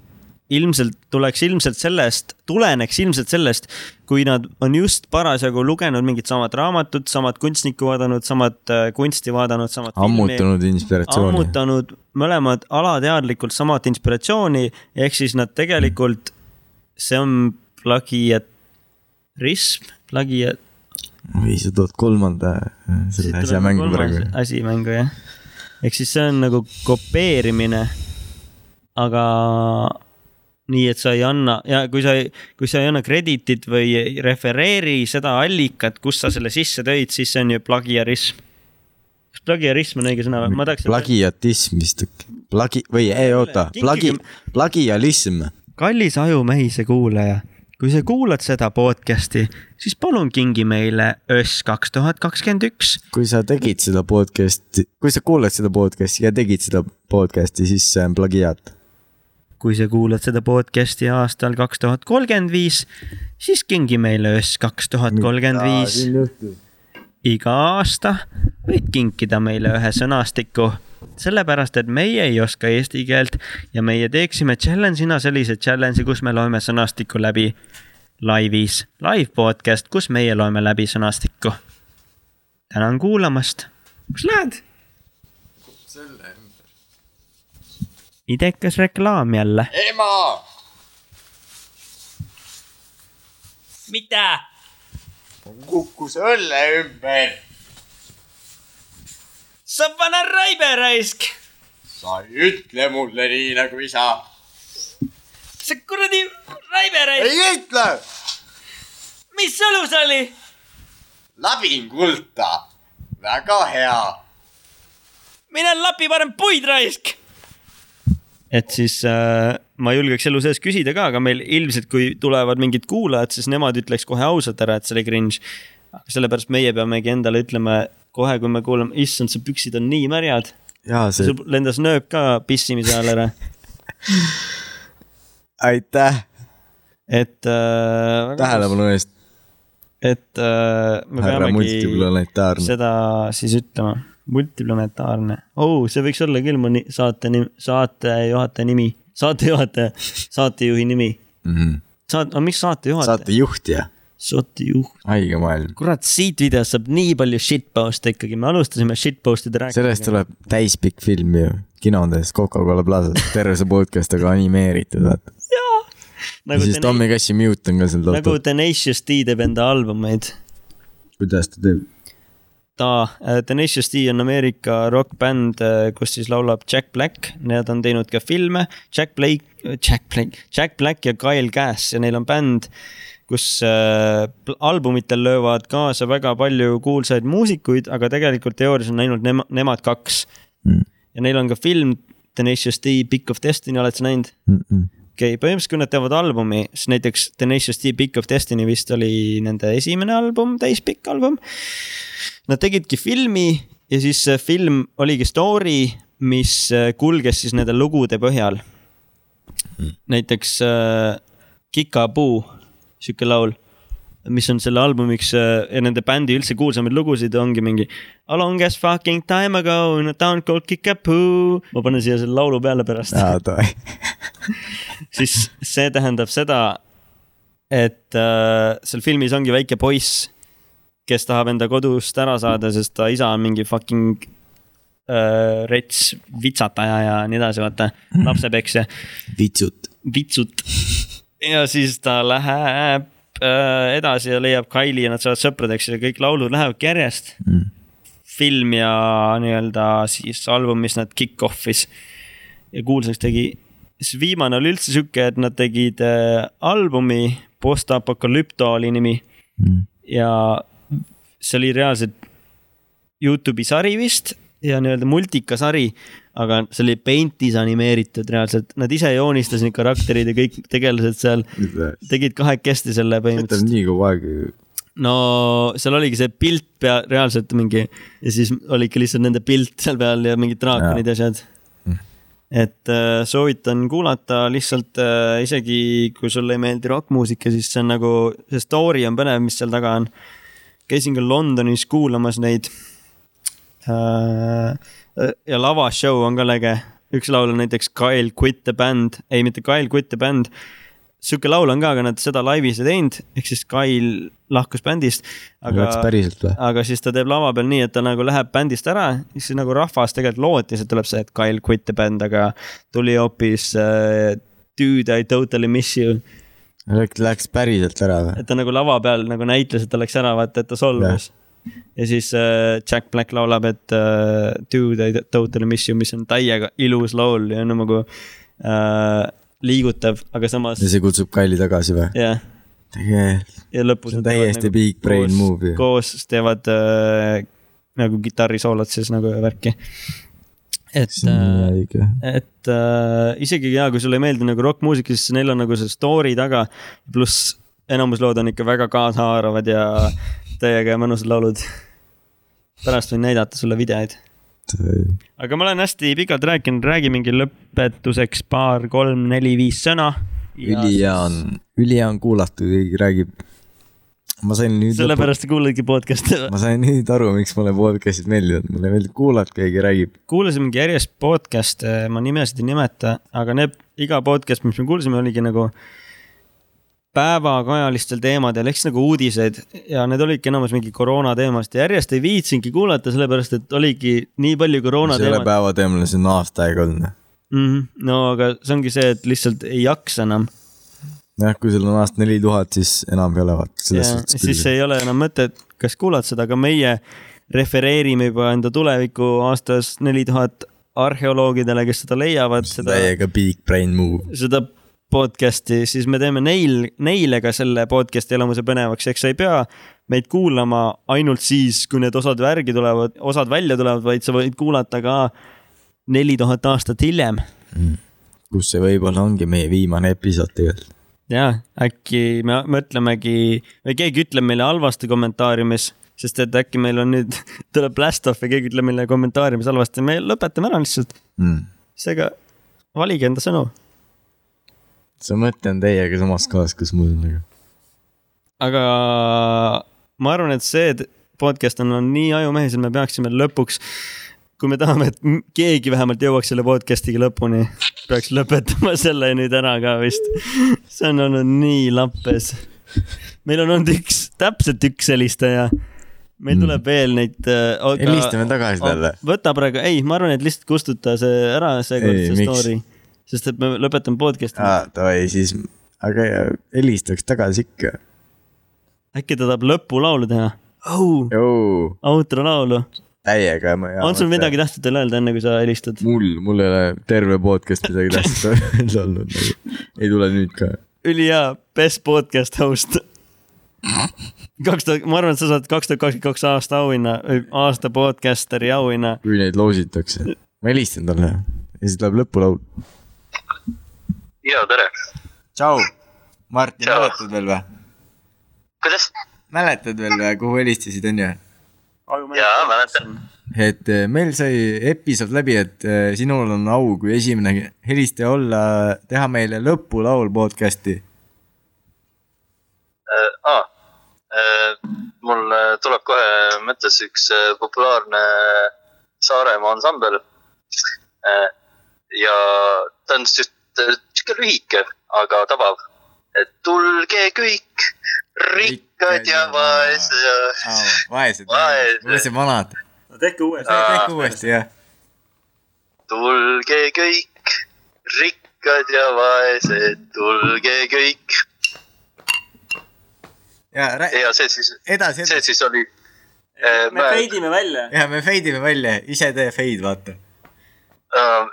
S1: ilmselt , tuleks ilmselt sellest , tuleneks ilmselt sellest , kui nad on just parasjagu lugenud mingit samat raamatut , samat kunstnikku vaadanud , samat äh, kunsti vaadanud , samat filmi
S2: ammutanud inspiratsiooni .
S1: ammutanud mõlemad alateadlikult samat inspiratsiooni , ehk siis nad tegelikult , see on plagiatrism , plagiat .
S2: või sa tood kolmanda äh, selle asja mängu praegu .
S1: asi mängu jah , ehk siis see on nagu kopeerimine . aga nii , et sa ei anna ja kui sa ei , kui sa ei anna krediitit või ei refereeri seda allikat , kust sa selle sisse tõid , siis see on ju plagiarism . kas plagiarism on õige sõna või ? ma tahaks .
S2: plagiatism vist , plagi- või ei oota , plagi- , plagialism .
S1: kallis ajumehise kuulaja , kui sa kuulad seda podcast'i , siis palun kingi meile öss kaks tuhat kakskümmend üks .
S2: kui sa tegid seda podcast'i , kui sa kuulad seda podcast'i ja tegid seda podcast'i , siis see on plagiaat
S1: kui sa kuulad seda podcast'i aastal kaks tuhat kolmkümmend viis , siis kingi meile öss kaks tuhat kolmkümmend viis . iga aasta võid kinkida meile ühe sõnastiku , sellepärast et meie ei oska eesti keelt ja meie teeksime challenge'ina sellise challenge'i , kus me loeme sõnastiku läbi laivis , live podcast , kus meie loeme läbi sõnastikku . tänan kuulamast , kus lähed ? idekas reklaam jälle .
S4: kukkus õlle ümber ,
S1: sa pane raibe raisk ,
S4: sa ei ütle mulle nii nagu isa .
S1: sa kuradi raibe raisk ,
S4: ei ütle ,
S1: mis õlu see oli ?
S4: labin kulda , väga hea .
S1: mine lapi parem puid raisk . et siis äh, ma julgeks elu sees küsida ka , aga meil ilmselt , kui tulevad mingid kuulajad , siis nemad ütleks kohe ausalt ära , et see oli cringe . aga sellepärast meie peamegi endale ütlema kohe , kui me kuuleme , issand , su püksid on nii märjad ,
S2: jaa , see
S1: sul lendas nööp ka pissimise ajal ära .
S2: aitäh
S1: et äh, ,
S2: tähelepanu eest ,
S1: et äh, me
S2: härra
S1: peamegi
S2: multiplanetaarne .
S1: seda siis ütlema . multiplanetaarne oh, , see võiks olla küll mu ni- saate nimi , saatejuhataja nimi , saatejuhataja , saatejuhi nimi .
S2: Mhm.
S1: saat- , aga miks saatejuhataja ?
S2: saatejuhtija ,
S1: saatejuht .
S2: haige maailm .
S1: kurat , siit videost saab nii palju shitpost'e ikkagi , me alustasime shitpost'ide
S2: sellest
S1: rääkimist .
S2: tuleb täispikk film ju , kinodes Coca-Cola Plaza's , terve see podcast , aga animeeritud , vaata . ja
S1: nagu
S2: siis
S1: Tena-
S2: Tommy Cassi Mute on ka seal
S1: nagu
S2: toodud .
S1: Tenacious D teeb enda albumeid . Nagu-
S2: kuidas ta teeb ?
S1: ta , Tenacious D on Ameerika rokkbänd , kus siis laulab Jack Black , nad on teinud ka filme . Jack Blake , Jack Blake , Jack Black ja Kyle Gass ja neil on bänd , kus äh, pl- albumitel löövad kaasa väga palju kuulsaid muusikuid , aga tegelikult teoorias on ainult nema, nemad kaks . ja neil on ka film Tenacious D , Pick of Destiny , oled sa näinud ? okei okay, , põhimõtteliselt kui nad teevad albumi , siis näiteks Tenacious D Pick of Destiny vist oli nende esimene album , täispikk album . Nad tegidki filmi ja siis see film oligi story , mis äh, kulges siis nende lugude põhjal . näiteks äh, Kikapuu , sihuke laul , mis on selle albumiks äh, ja nende bändi üldse kuulsamaid lugusid ongi mingi . A long as fucking time ago in a town called Kikapuu . ma panen siia selle laulu peale pärast
S2: aa , tore .
S1: siis see tähendab seda , et äh, seal filmis ongi väike poiss , kes tahab enda kodust ära saada , sest ta isa on mingi fucking äh, rets vitsataja ja nii edasi , vaata , lapsepeksja ,
S2: vitsut .
S1: vitsut . ja siis ta läheb äh, edasi ja leiab Kylie ja nad saavad sõpradeks ja kõik laulud lähevadki järjest
S2: Mm.
S1: film ja nii-öelda siis album , mis nad kick-off'is ja kuulsaks tegi . siis viimane oli üldse sihuke , et nad tegid äh, albumi , Postapokalüpto oli nimi
S2: Mm.
S1: ja see oli reaalselt Youtube'i sari vist ja nii-öelda multikasari , aga see oli Paint'is animeeritud reaalselt , nad ise joonistas neid karakterid ja kõik tegelased seal , tegid kahekesti selle
S2: võtab
S1: põhimõtteliselt .
S2: nii kaua aega .
S1: no seal oligi see pilt pea , reaalselt mingi ja siis oligi lihtsalt nende pilt seal peal ja mingid draakonid ja asjad . et äh, soovitan kuulata lihtsalt äh, isegi kui sulle ei meeldi rokkmuusika , siis see on nagu , see story on põnev , mis seal taga on . käisin ka Londonis kuulamas neid äh, . ja lavashow on ka läge , üks laul on näiteks Kyle Quit the Band , ei mitte Kyle Quit the Band sihuke laul on ka , aga nad seda laivis ei teinud , ehk siis Kail lahkus bändist . aga
S2: läks , päriselt või ?
S1: aga siis ta teeb lava peal nii , et ta nagu läheb bändist ära , siis nagu rahvas tegelikult lootis , et tuleb see , et Kail quit the band , aga tuli hoopis äh, dude I totally miss you .
S2: Läks , läks päriselt ära või ?
S1: et ta nagu lava peal nagu näitles , et ta läks ära , vaata , et ta solvus . ja siis äh, Jack Black laulab , et äh, dude I totally miss you , mis on täiega ilus laul ja on nagu äh, liigutav , aga samas
S2: ja see kutsub Kaili tagasi või ?
S1: jah
S2: tegelikult .
S1: ja lõpus .
S2: See on täiesti big brain move ju.
S1: koos teevad äh, nagu kitarrisoolot siis nagu ja värki . et , äh,
S2: see on nii õige .
S1: et äh, isegi ja kui sulle ei meeldi nagu rokkmuusika , siis neil on nagu see story taga . pluss enamus lood on ikka väga kaasahaaravad ja täiega mõnusad laulud . pärast võin näidata sulle videoid .
S2: äh,
S1: aga ma olen hästi pikalt rääkinud , räägi mingi lõpetuseks paar , kolm , neli , viis sõna .
S2: ülihea on , ülihea on kuulatud , keegi räägib . ma sain nüüd .
S1: sellepärast sa kuuladki podcast'e või ?
S2: ma sain nüüd aru , miks mulle podcast'id meeldivad , mulle meeldib kuulata , keegi räägib .
S1: kuulasimegi järjest podcast'e , ma nimesid ei nimeta , aga need , iga podcast , mis me kuulsime , oligi nagu päevakajalistel teemadel , eks nagu uudised ja need olidki enamus mingi koroona teemast ja järjest ei viitsinudki kuulata , sellepärast et oligi nii palju koroona
S2: selle
S1: teemat .
S2: päeva teemale see on aasta aega olnud . noh.
S1: Mm -hmm. no aga see ongi see , et lihtsalt ei jaksa enam .
S2: jah , kui sul on aasta neli tuhat , siis enam ei ole vaata , selles suhtes
S1: siis ei ole enam mõtet , kas kuulad seda , aga meie refereerime juba enda tulevikku aastas neli tuhat arheoloogidele , kes seda leiavad , seda
S2: täiega big brain move .
S1: seda podcast'i , siis me teeme neil , neile ka selle podcast'i elamuse põnevaks , eks sa ei pea meid kuulama ainult siis , kui need osad värgi tulevad , osad välja tulevad , vaid sa võid kuulata ka neli tuhat aastat hiljem .
S2: kus see võib-olla ongi meie viimane episood tegelikult .
S1: ja äkki me mõtlemegi või keegi ütleb meile halvasti kommentaariumis , sest et äkki meil on nüüd tuleb last off ja keegi ütleb meile kommentaariumis halvasti , me lõpetame ära lihtsalt .
S2: mm. .
S1: seega valige enda sõnu ,
S2: see mõte on teiega samas kohas , kus mul nagu .
S1: aga ma arvan , et see t- podcast on, on nii ajumehis , et me peaksime lõpuks , kui me tahame , et m- keegi vähemalt jõuaks selle podcast'iga lõpuni , peaks lõpetama selle nüüd ära ka vist . see on olnud nii lappes . meil on olnud üks , täpselt üks helistaja . meil tuleb veel neid äh, .
S2: Mm. helistame tagasi talle .
S1: võta praegu , ei , ma arvan , et lihtsalt kustuta see ära , seekord
S2: Ei,
S1: see
S2: miks?
S1: story , sest et me lõpetame podcast'i ,
S2: aa , Ah, davai , siis , aga helistaks tagasi ikka .
S1: äkki ta tahab lõpulaulu teha oh, ,
S2: jõu ,
S1: outro laulu .
S2: täiega .
S1: on sul midagi ? tahtnud veel öelda , enne kui sa helistad ?
S2: mul , mul ei ole terve podcast midagi tähtsat öelda olnud nagu. . ei tule nüüd ka .
S1: ülihea , best podcast host . kaks tuhat , ma arvan , et sa saad kaks tuhat kakskümmend kaks aasta auhinna , aasta podcasteri auhinna .
S2: kui neid loositakse . ma helistan talle ja siis tuleb lõpulaul .
S5: ja tere .
S2: tšau , Martin ,
S5: Tšau.
S2: mäletad veel või ?
S5: kuidas ?
S2: mäletad veel või , kuhu helistasid , onju ?
S5: jaa , mäletan .
S2: et eh, meil sai episood läbi , et eh, sinul on au kui esimene helistaja olla , teha meile lõpulaul podcast'i .
S5: Äh, aa , mul äh, tuleb kohe mõttes üks äh, populaarne Saaremaa ansambel . ja ta on äh, sihuke lühike , aga tabav . et tulge kõik , rikkad ja vaesed .
S2: vaesed ,
S5: Vaesed.
S2: vaesed vanad . no tehke uuesti . tehke uuesti jah .
S5: tulge kõik , rikkad ja vaesed , tulge kõik .
S2: ja rää-
S5: ja see siis ,
S2: edasi ,
S5: see
S2: edasi .
S5: siis oli . äh,
S6: me feidime välja .
S2: ja me fade ime välja , ise tee fade , vaata .
S5: Ah,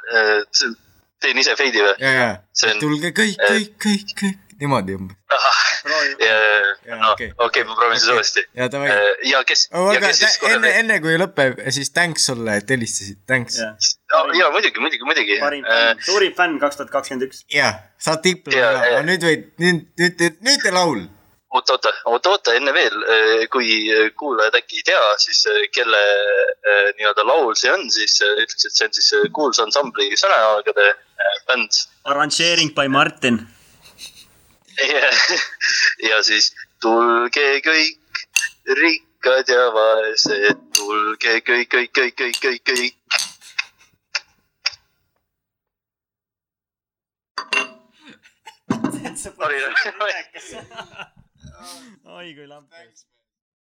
S5: teen äh, ise feidi või ?
S2: ja , ja
S5: See on-
S2: tulge kõik ,
S5: eh.
S2: kõik , kõik , kõik niimoodi umbes . Jaa,
S5: no
S2: okei.
S5: noh, okei okay, , ma proovin siis uuesti .
S2: ja davai .
S5: ja kes , Äh, ja
S2: aga
S5: kes siis
S2: tä-
S5: kohe
S2: enne ,
S5: veel-
S2: enne kui lõpeb , siis tänks sulle , et helistasid , tänks .
S5: Ah, Ja- ja muidugi , muidugi , muidugi . Äh,
S6: parim fänn , suurim fänn kaks tuhat kakskümmend üks .
S2: jah , saad diplomi
S5: Jaa,
S2: ka , aga
S5: jaa.
S2: nüüd võid , nüüd , nüüd , nüüd tee laul .
S5: oot , oota , oota , oota , enne veel , kui äh, kuulajad äkki ei tea , siis äh, kelle äh, nii-öelda laul see on , siis äh, ütleks , et see on siis äh, kuulsa ansambli Sõnajalgade äh, bänd
S6: arranžeering by Martin .
S5: ja, ja siis tulge kõik , rikkad ja vaesed , tulge kõik , kõik , kõik , kõik , kõik , kõik . oli ,
S6: oi kui lamp .